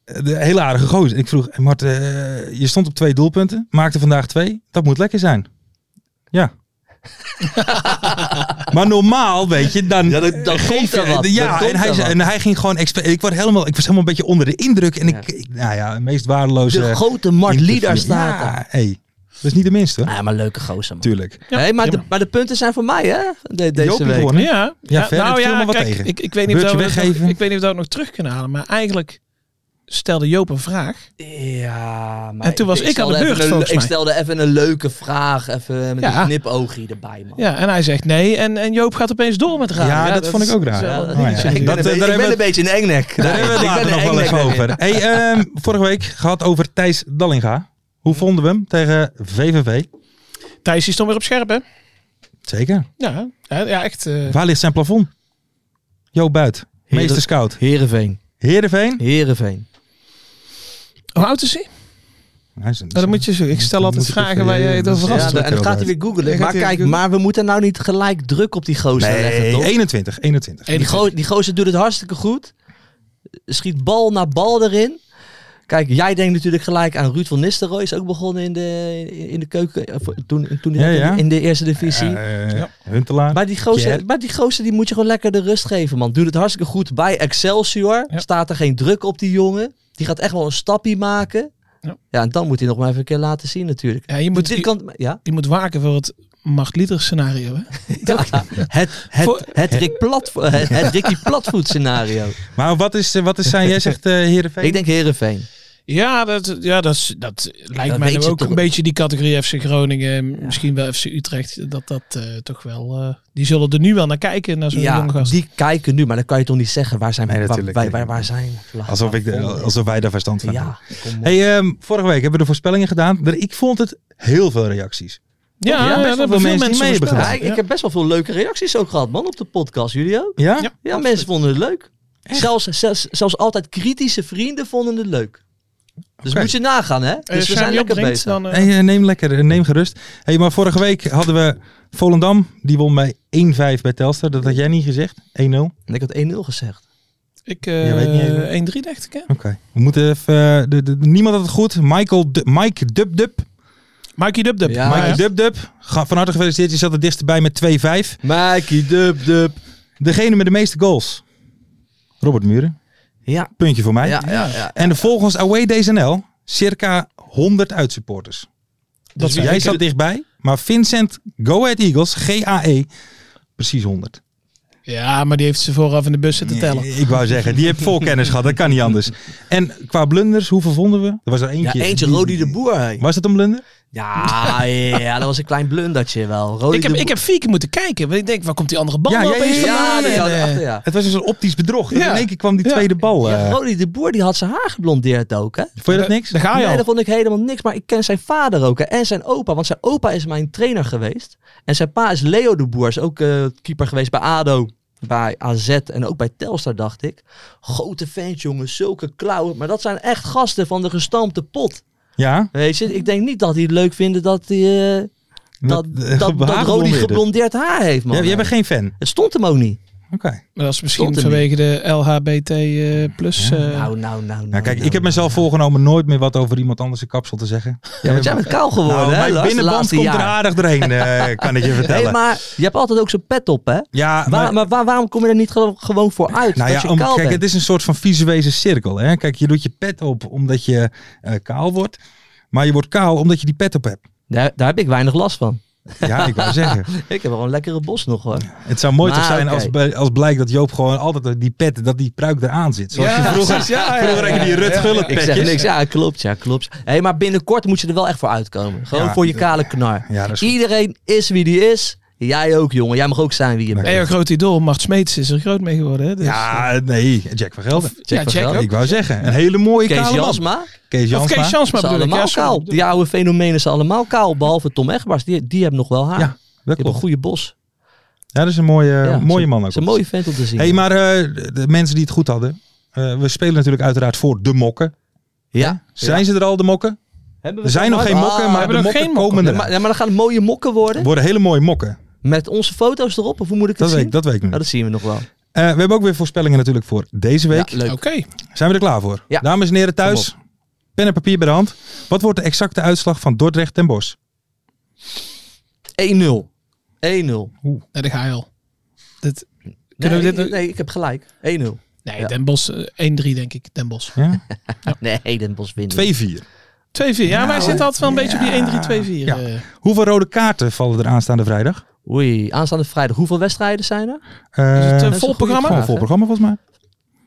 eh, de hele aardige gozer. Ik vroeg, "Hey, Mart, eh, je stond op twee doelpunten, maakte vandaag twee. Dat moet lekker zijn. Ja. maar normaal, weet je, dan, Ja, dan, dan komt er wat. ja, Dan komt en, hij, er zei- wat. en hij ging gewoon. expe- Ik, word helemaal, ik was helemaal een beetje onder de indruk. En Ja. ik, ik- nou ja, de meest waardeloze. de grote Mart input Lieder van- staat Ja, daar. hey. Dat is niet de minste. Ja, maar leuke gozer, man. Tuurlijk. Hey, maar, de, maar de punten zijn voor mij, hè? De- Joop deze heeft week. gewonnen. Ja, Ja, verder viel me wat kijk, tegen. Ik, ik, weet niet of dat Beurtje we dat nog, weggeven. ik weet niet of we dat nog terug kunnen halen, maar eigenlijk stelde Joop een vraag. Ja, maar En toen was ik aan de stelde beurt, even een- volgens Ik mij. stelde even een leuke vraag, even met Ja. een knipoogje erbij, man. Ja, en hij zegt nee en, en Joop gaat opeens door met raden. Ja, dat vond ik ook raar. wel Ja, een Oh, ja. dingetje Ik Ik ben, natuurlijk. een, daar be- ik hebben ben we- een beetje een engnek. Daar hebben we het Ik ben later een nog wel engnek. even over. Hey, ehm, vorige week gehad over Thijs Dallinga. Hoe vonden we hem tegen VVV? Thijs die stond weer op scherp, hè? Zeker. Ja, ja, ja echt. eh, Waar ligt zijn plafond? Joop Buit, Heren- meester scout. Heerenveen. Heerenveen? Heerenveen. hoe oud is hij? Hij is een- Nou, dat moet je zo. Ik stel Dan altijd moet ik vragen even- eh, waar je het Ja, over had. Ja, dat en dan wel gaat hij uit. weer googelen. Maar Ja, gaat hij weer kijk, maar we moeten nou niet gelijk druk op die gozer leggen, toch? Nee, 21, 21. Die, go- die gozer doet het hartstikke goed. Schiet bal na bal erin. Kijk, jij denkt natuurlijk gelijk aan Ruud van Nistelrooy. Is ook begonnen in de, in de keuken. eh, voor- Toen, toen Ja, ja. In de eerste divisie. Eh, Huntelaar. Maar die gozer, Pierre. maar die gozer die moet je gewoon lekker de rust geven, man. Doet het hartstikke goed bij Excelsior. Ja. Staat er geen druk op die jongen. Die gaat echt wel een stapje maken. Ja, Ja. en dan moet hij nog maar even een keer laten zien natuurlijk. Ja, je, moet, Dit je, kan, ja, je moet waken voor het Machtlieter scenario. Hè? Ja, het, het, Voor- het, Rick Plat, het, het Ricky Platvoet scenario. Maar wat is, eh, wat is zijn, jij zegt eh Heerenveen? Ik denk Herenveen. Ja, dat, ja, dat, is- dat lijkt Dat mij weet nu je ook toch. een beetje die categorie FC Groningen. Misschien wel FC Utrecht. Dat dat eh, toch wel. eh, die zullen er nu wel naar kijken, naar zo'n Ja, jonge gast. die kijken nu, maar dan kan je toch niet zeggen waar zijn Nee, waar, natuurlijk waar, niet. waar, waar zijn. Alsof, ik de, alsof wij daar verstand van hebben. ja, kom op. Hey, ehm, vorige week hebben we de voorspellingen gedaan. Er- Ik vond het heel veel reacties. ja, ja, ja, best wel dat hebben veel mensen veel die mensen mee hebben voorspeld. Ja, ik, ik heb best wel veel leuke reacties ook gehad, man, op de podcast. Jullie ook? Ja? Ja. Ja, mensen vonden het leuk. Zelfs, zelfs, zelfs altijd kritische vrienden vonden het leuk. Dus Oké. moet je nagaan, hè? Eh, Dus we Sjaak zijn lekker Jopbrink, bezig. Dan, eh, Hey, eh, neem lekker, eh, neem gerust. Hey, maar vorige week hadden we Volendam. Die won bij 1-5 bij Telstar. Dat had jij niet gezegd. 1-0. Oké. En Ik had 1-0 gezegd. ik Ja, weet niet even. eh 1-3 dacht ik. Hè? We moeten even... eh, de, de- niemand had het goed. Michael Du- Mike Dub Dub. Mikey Dub Dub. Ja. Mike Dub Dub. Ga- Van harte gefeliciteerd. Je zat er dichterbij met 2-5. Mikey dub dub. Degene met de meeste goals. Robert Muren. Ja, Puntje voor mij. ja, ja. ja. En volgens Away DSNL circa 100 Dus uitsupporters. Dat Dus Jij zat dichtbij, maar Vincent Go Ahead Eagles, GAE, precies 100. Ja, maar die heeft ze vooraf in de bus zitten tellen. Ik wou zeggen, die heeft vol kennis gehad, dat kan niet anders. En qua blunders, hoeveel vonden we? Er was er Ja, eentje. eentje die- Rodi de Boer. hè. Was het een blunder? Ja, ja, dat was een klein blundertje wel. Rodi Ik heb, de Boer. ik heb vier keer moeten kijken. Want ik denk, waar komt die andere bal Ja, nou ja, opeens ja, ja, vandaan? die En, had eh, achter, ja. Het was dus een soort optisch bedrog. Ja. In één keer kwam die Ja. tweede bal. eh. Ja, Rodi de Boer die had zijn haar geblondeerd ook, hè? Vond je dat niks? Daar ga je nee, al. dat vond ik helemaal niks. Maar ik ken zijn vader ook hè, en zijn opa. Want zijn opa is mijn trainer geweest. En zijn pa is Leo de Boer. Is ook eh, keeper geweest bij ADO, bij AZ en ook bij Telstar, dacht ik. Grote fans, jongen. Zulke klauwen. Maar dat zijn echt gasten van de gestampte pot. Ja. Weet je, ik denk niet dat die het leuk vinden dat, die, eh, dat, Met, eh, dat, dat, haar Rodi geblondeerd. geblondeerd haar heeft, man. Ja, jij bent geen fan. Nou, Het stond hem ook niet. Oké. Maar dat is misschien Stond er vanwege de LHBT eh, plus. eh, nou, nou, nou, Nou, kijk, nou, ik heb nou. mezelf voorgenomen nooit meer wat over iemand anders een kapsel te zeggen. Ja, want jij bent kaal geworden, Nou, hè, mijn Lars, de binnenband laatste komt er jaar. aardig doorheen, eh, kan ik je vertellen. Hey, maar je hebt altijd ook zo'n pet op, hè? ja, maar- Waar, maar waar- waarom kom je er niet gewoon- gewoon voor uit? Nou dat ja, je om, kaal kijk, bent? het is een soort van visuele cirkel. Hè? Kijk, je doet je pet op omdat je eh, kaal wordt. Maar je wordt kaal omdat je die pet op hebt. daar, daar heb ik weinig last van. Ja, ik wou zeggen. Ik heb wel een lekkere bos nog hoor. Het zou mooi toch Maar, zijn als, oké. bij- als blijkt dat Joop gewoon altijd die pet, dat die pruik eraan zit. Zoals je Ja, vroeger, precies, ja, ja, vroeger ja, had je die ja, Rut ja. Gullit Ik zeg petjes. niks, ja klopt, ja klopt. Hey, maar binnenkort moet je er wel echt voor uitkomen. Gewoon Ja, voor je dat- kale knar. Ja, dat is goed. Iedereen is wie die is. Jij ook jongen, jij mag ook zijn wie je bent. En jouw groot idool, Mart Smeets, is er groot mee geworden. Hè? Dus, Ja, nee, Jack van Gelder. ja, van Jack Gelder. ook. Ik wou zeggen, een hele mooie Kees kale man. Jansma, Kees Of Jansma. Kees Jansma ze bedoel ik. allemaal Ja, sorry. kaal. Die oude fenomenen zijn allemaal kaal, behalve Tom Egberts. Die, die hebben nog wel haar. Ja, die Dat hebben een klopt. goede bos. Ja, dat is een mooie, Ja, mooie ze- man ook. Ze een mooie vent om te zien. hey, maar eh, de- de mensen die het goed hadden. eh, we spelen natuurlijk uiteraard voor de mokken. ja. Zijn ze er al, de mokken? Hebben we Er zijn nog het geen al? mokken, Ah, maar hebben de nog mokken geen mokken. komen Ja, er. maar, ja, maar dat gaan mooie mokken worden. worden hele mooie mokken. Met onze foto's erop, of hoe moet ik het Dat weet, zien? ik, dat weet ik nu. Nou, dat zien we nog wel. Eh, we hebben ook weer voorspellingen natuurlijk voor deze week. Ja, leuk. Oké. Zijn we er klaar voor? Ja. Dames en heren thuis, pen en papier bij de hand. Wat wordt de exacte uitslag van Dordrecht ten Bos? 1-0. 1-0. Nee, daar ga je al. Dit, Nee, kunnen we dit ik- nog- nee, ik heb gelijk. 1-0. Nee, eh, Ja. Den Bos, 1-3 denk ik. Den Bos. Ja? Nee, Den Bosch wint. 2-4. 2-4. Ja, wij zitten altijd wel een beetje op die 1-3-2-4. Ja. eh. Hoeveel rode kaarten vallen er aanstaande vrijdag? Oei, aanstaande vrijdag. Hoeveel wedstrijden zijn er? Eh, Is het, eh, dat vol een goede programma? vraag, vol programma volgens mij.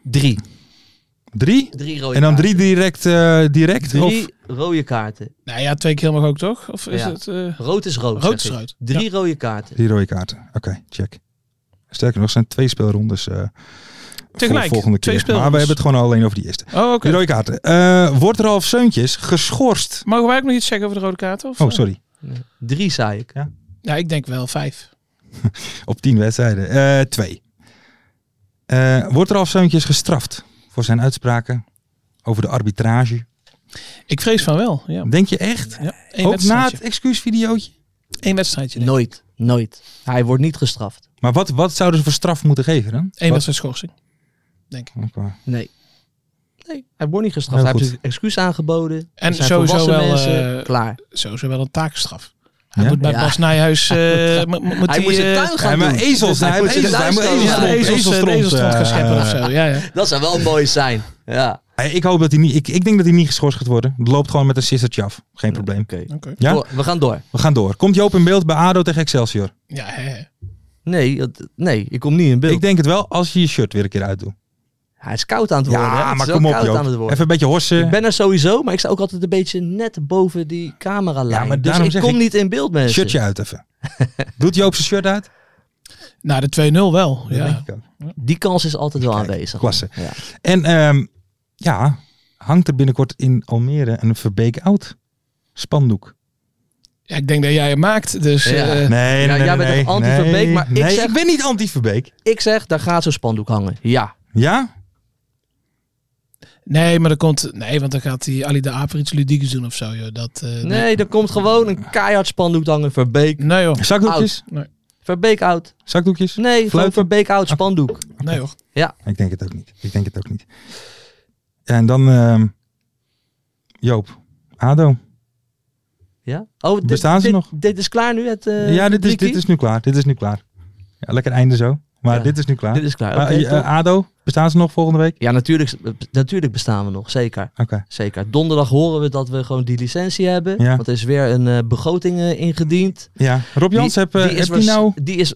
Drie. Drie? Drie rode En dan kaarten. drie direct? eh, direct Drie Of rode kaarten. Nou ja, twee keer mag ook toch? Of is Ja. het... eh, Rood is rood. Rood zeg ik. is rood. Drie rode kaarten. drie rode kaarten. Oké, check. Sterker nog, er zijn twee speelrondes eh, Tegelijk, voor de volgende keer. maar twee we speelrondes. hebben het gewoon alleen over die eerste. Oh, oké. Die rode kaarten. Eh, wordt Ralf Seuntjes geschorst? Mogen wij ook nog iets zeggen over de rode kaarten? Of, Oh, sorry. Drie, zei ik. Ja, ik denk wel vijf. Op tien wedstrijden. Eh, twee. Eh, wordt Ralf Seuntjes gestraft voor zijn uitspraken over de arbitrage? Ik vrees van wel, ja. Denk je echt? ja. Eén Ook na wedstrijdje. het excuusvideootje? Eén wedstrijdje. denk ik. Nooit. Nooit. Hij wordt niet gestraft. Maar wat, wat zouden ze voor straf moeten geven dan? Eén Wat- wedstrijd schorsing. Ook waar. Nee. Nee, hij wordt niet Heel gestraft. hij goed. heeft zijn excuus aangeboden. En Er zijn sowieso volwassen wel, mensen. eh, Klaar. Sowieso wel een taakstraf. Hij Ja? moet bij Ja. Bas Nijhuis... eh, mo- mo- moet hij moet eh, zijn tuin gaan Ja, maar doen. Dus ezels, Hij hij moet moet zijn ezels, hij moet tuin ezels, gaan ja, doen. ezels, ezels, ezelstront, ezelstront gaan eh, scheppen of zo. Ja, ja. Dat zou wel mooi zijn. Ja. Hey, Ik hoop dat hij niet. Ik, ik denk dat hij niet geschorst gaat worden. Het loopt gewoon met een sistertje af. Geen probleem. Oké. Oké. Ja? Door- We gaan door. We gaan door. Komt Joop in beeld bij ADO tegen Excelsior? Ja, hè, hè. Nee, dat- nee, ik kom niet in beeld. Ik denk het wel als je je shirt weer een keer uitdoet. Hij is koud aan het worden. hè. Ja, Het maar is wel kom op koud aan het Joop. worden. Even een beetje horsen. Ik ben er sowieso, maar ik sta ook altijd een beetje net boven die cameralijn. Ja, maar dus daarom ik zeg kom ik- niet in beeld, mensen. Shirtje uit even. Doet Joop zijn shirt uit? Nou, de 2-0 wel. Dat Ja. denk ik ook. Die kans is altijd wel aanwezig. klasse. Ja. En ehm, ja, hangt er binnenkort in Almere een Verbeek Out spandoek? Ja, ik denk dat jij hem maakt. Dus Ja. eh, Nee, jij bent toch anti-Verbeek, maar ik nee, zeg- ik ben niet anti-Verbeek. Ik zeg, daar gaat zo'n spandoek hangen. Ja. Ja? nee, maar dan komt... Nee, want dan gaat die Ali de Aper iets ludiekes doen of zo. Joh. Dat, eh, Nee, er komt gewoon een keihard spandoek hangen. Verbeek. Nee Oh. hoor. Zakdoekjes? Verbeek out. Zakdoekjes? Nee, gewoon Fluiten? Verbeek out spandoek. Nee hoor. Ik denk het ook niet. Ik denk het ook niet. En dan ehm, Joop, Ado. Ja? Oh, dit, Bestaan ze dit- nog? Dit is klaar nu, het eh, ja, dit is, rubriekie? dit is nu klaar. Dit is nu klaar. Ja, lekker einde zo. Maar Ja. dit is nu klaar. Dit is klaar. Maar, oké, eh, top. Ado, bestaan ze nog volgende week? ja, natuurlijk, eh, natuurlijk bestaan we nog. Zeker. Oké. Zeker. Donderdag horen we dat we gewoon die licentie hebben. Ja. Want er is weer een eh, begroting eh, ingediend. Ja. Rob Jans, heb, eh, die heb is je waars- nou Die is...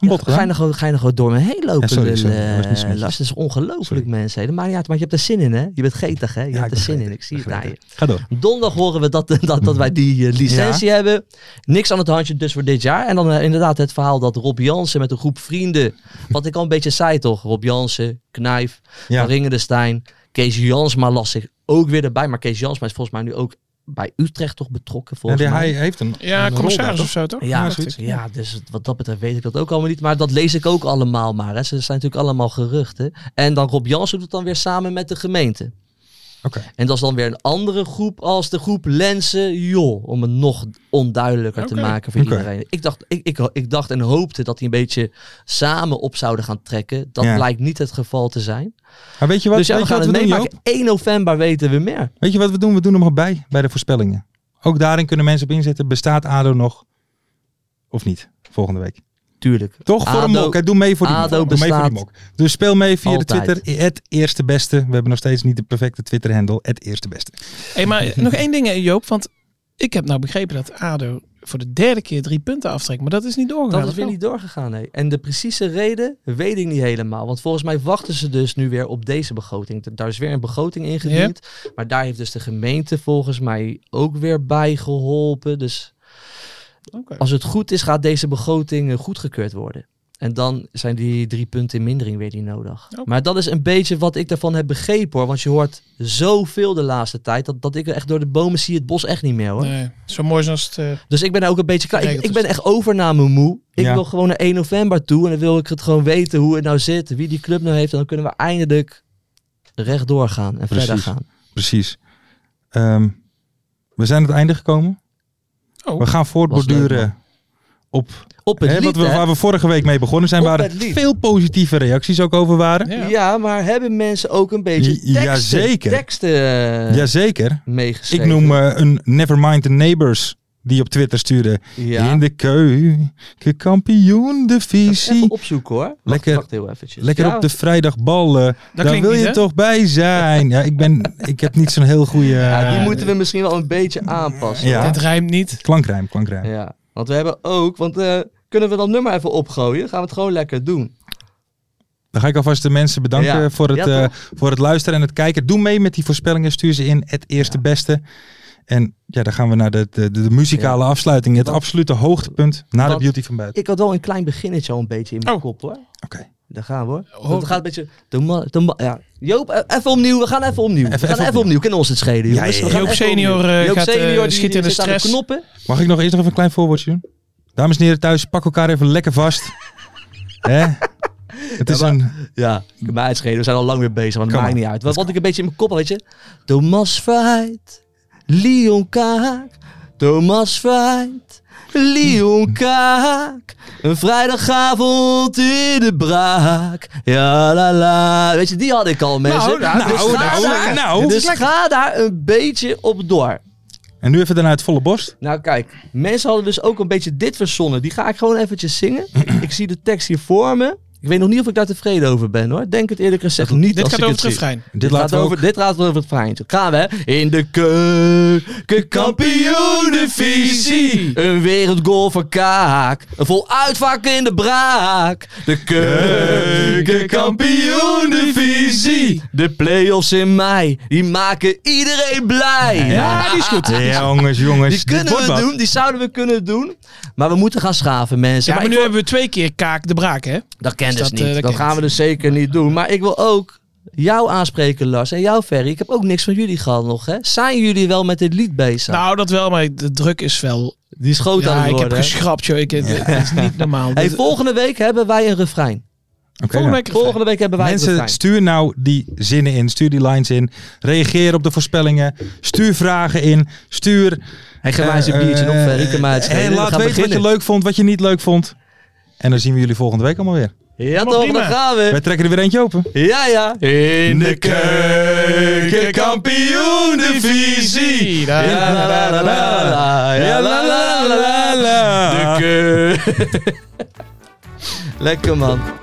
een Ja, bod ga, je gedaan? nog, gewoon- ga je nog gewoon door me heen lopen? Ja, sorry, eh, sorry. Dat was niet smetjes. Lars, dat is ongelooflijk, Sorry. mensen. Dat maakt niet uit, maar je hebt er zin in, hè? Je bent getig, hè? Je Ja, ik hebt er ben zin in. gretig. Ik zie Ik het ben aan je. gretig. Ga door. Donderdag horen we dat, dat, dat wij die eh, licentie hebben. Niks aan het handje dus voor dit jaar. En dan eh, inderdaad het verhaal dat Rob Jansen met een groep vrienden... Wat ik al een beetje zei, toch? Rob Jansen, Knijf, Ja. van Ringen de Stijn. Kees Jansma las zich ook weer erbij. Maar Kees Jansma is volgens mij nu ook bij Utrecht toch betrokken. Ja, Volgens die- mij. hij heeft een Ja, een rol commissaris daar, of zo toch? ja, dacht ik. ja, dus het- wat dat betreft weet ik dat ook allemaal niet. Maar dat lees ik ook allemaal maar. Hè. Ze zijn natuurlijk allemaal geruchten. En dan Rob Jansen doet het dan weer samen met de gemeente. toch? Oké. En dat is dan weer een andere groep als de groep Lensen Jol. Om het nog onduidelijker te Oké. maken voor Oké. iedereen. Ik dacht, ik, ik, ik dacht en hoopte dat die een beetje samen op zouden gaan trekken. Dat Ja. blijkt niet het geval te zijn. Maar weet je wat, dus ja, we weet je gaan wat het we doen, meemaken. Joop? 1 november weten we meer. Weet je wat we doen? We doen hem nog bij, bij de voorspellingen. Ook daarin kunnen mensen op inzetten. Bestaat Ado nog of niet? Volgende week. Tuurlijk. Toch voor een ADO mok. Hè? Doe mee voor die, ADO mok. Doe mee voor die bestaat mok. Dus speel mee via altijd. de Twitter. Het eerste beste. We hebben nog steeds niet de perfecte Twitter handle. Het eerste beste. Hey, maar nog één ding, hè, Joop. Want ik heb nou begrepen dat ADO voor de derde keer drie punten aftrekt. Maar dat is niet doorgegaan. Dat is of weer wel? niet doorgegaan, nee. En de precieze reden weet ik niet helemaal. Want volgens mij wachten ze dus nu weer op deze begroting. Da- Daar is weer een begroting ingediend. Maar daar heeft dus de gemeente volgens mij ook weer bij geholpen. Dus Oké. als het goed is, gaat deze begroting eh, goedgekeurd worden. En dan zijn die drie punten in mindering weer niet nodig. Oké. Maar dat is een beetje wat ik daarvan heb begrepen hoor. Want je hoort zoveel de laatste tijd. Dat, dat ik echt door de bomen zie het bos echt niet meer hoor. Nee, zo mooi als het... eh, Dus ik ben daar ook een beetje klaar. Ik, Geregeld ik is ben echt overname moe. Ik Ja. wil gewoon naar 1 november toe. En dan wil ik het gewoon weten hoe het nou zit. Wie die club nou heeft. En dan kunnen we eindelijk rechtdoor gaan en verder Precies. gaan. Precies. Ehm, we zijn aan het einde gekomen. Oh. we gaan voortborduren leuk, op Op het hè, lied, wat we, hè? waar we vorige week mee begonnen zijn. Op Waar het lied. veel positieve reacties ook over waren. ja. Ja, maar hebben mensen ook een beetje J- teksten, jazeker. teksten eh, Jazeker. meegeschreven? Ik noem eh, een Nevermind the Neighbors Die op Twitter stuurde. Ja. In de keuken, kampioen de visie. Even opzoeken hoor. Wacht, Lekker- wacht heel eventjes. Lekker Ja, op de vrijdagballen. Daar klinkt wil niet, je hè? toch bij zijn. Ja, ik, ben, ik heb niet zo'n heel goede ja, die eh, moeten we misschien wel een beetje aanpassen. Ja. Het rijmt niet. klankrijm. klankrijm. Ja, want we hebben ook, want eh, kunnen we dat nummer even opgooien? Gaan we het gewoon lekker doen. Dan ga ik alvast de mensen bedanken Ja. voor, het, Ja, eh, voor het luisteren en het kijken. Doe mee met die voorspellingen. Stuur ze in. Het eerste beste. En ja, dan gaan we naar de, de, de muzikale afsluiting. Het Wat- absolute hoogtepunt na de wat- beauty van buiten. Ik had wel een klein beginnetje al een beetje in mijn Oh. kop hoor. Oké. Daar gaan we hoor. Hoor- Het gaat een beetje... De ma- de ma- ja. Joop, eh, even opnieuw. We gaan even opnieuw. Even- we gaan even even opnieuw. opnieuw. Kunnen ons het schelen, Ja, jongens. ja, We ja. gaan Joop even senior, opnieuw. eh, Joop gaat, eh, senior, die- schiet die in de zit aan stress. knoppen. Mag ik nog eerst nog even een klein voorwoordje doen? Dames en heren thuis, pak elkaar even lekker vast. Hè? Het is een... Ja, maar het schelen. We zijn al lang weer bezig, want het Kom maakt maar. niet uit. Wat, wat ik een beetje in mijn kop had, weet je. Thomas Verheid, Leon Kaak. Thomas Verheid, Leon Kaak. Een vrijdagavond in de braak. Ja, la, la. Weet je, die had ik al, mensen. nou, dus nou, ga nou, daar, nou. Dus ga daar een beetje op door. En nu even daarna het volle borst. Nou kijk, mensen hadden dus ook een beetje dit verzonnen. Die ga ik gewoon eventjes zingen. ik zie de tekst hier voor me. Ik weet nog niet of ik daar tevreden over ben hoor. Denk het eerlijk gezegd niet Dit als gaat ik over het het zie. refrein. Dit laten we gaat over... over, dit gaat over het verhaantje. Gaan we, hè? In de keukenkampioenenvisie. Een wereldgoal voor Kaak. Een vol uitvak in de braak. De keukenkampioenenvisie. De play-offs in mei. Die maken iedereen blij. Ja, die is goed. jongens, jongens. Die dit kunnen wordt we wat. doen, die zouden we kunnen doen. Maar we moeten gaan schaven, mensen. Ja, maar ik nu wil- hebben we twee keer kaak de braak, hè? Dat kent Dus dus dat, niet. eh, dat dat kent. gaan we dus zeker niet doen. Maar ik wil ook jou aanspreken, Lars. En jou, Ferry. Ik heb ook niks van jullie gehad nog, hè? Zijn jullie wel met dit lied bezig? Nou, dat wel, maar de druk is wel... Die is groot aan ja, het ik heb worden, hè? geschrapt, joh. Ik, Dat is niet normaal. Hey, Dit- volgende week hebben wij een refrein. Oké, volgende nou. week refrein. Volgende week hebben wij een Mensen, refrein. stuur nou die zinnen in. Stuur die lines in. Reageer op de voorspellingen. Stuur vragen in. Stuur... Hey, geef mij eens een eh, biertje op, eh, Ferry. Ik kan mij het eh, schelen. en We laat gaan weten wat je beginnen. leuk vond, wat je niet leuk vond. En dan zien we jullie volgende week allemaal weer. Ja, toch? Daar prima. gaan Wij we. trekken er weer eentje open. Ja, ja. In de Keukenkampioenenvisie. Ja, la, la, la, la, la. Ja, la, Ah. la, la, la, la. De keu- Lekker, man.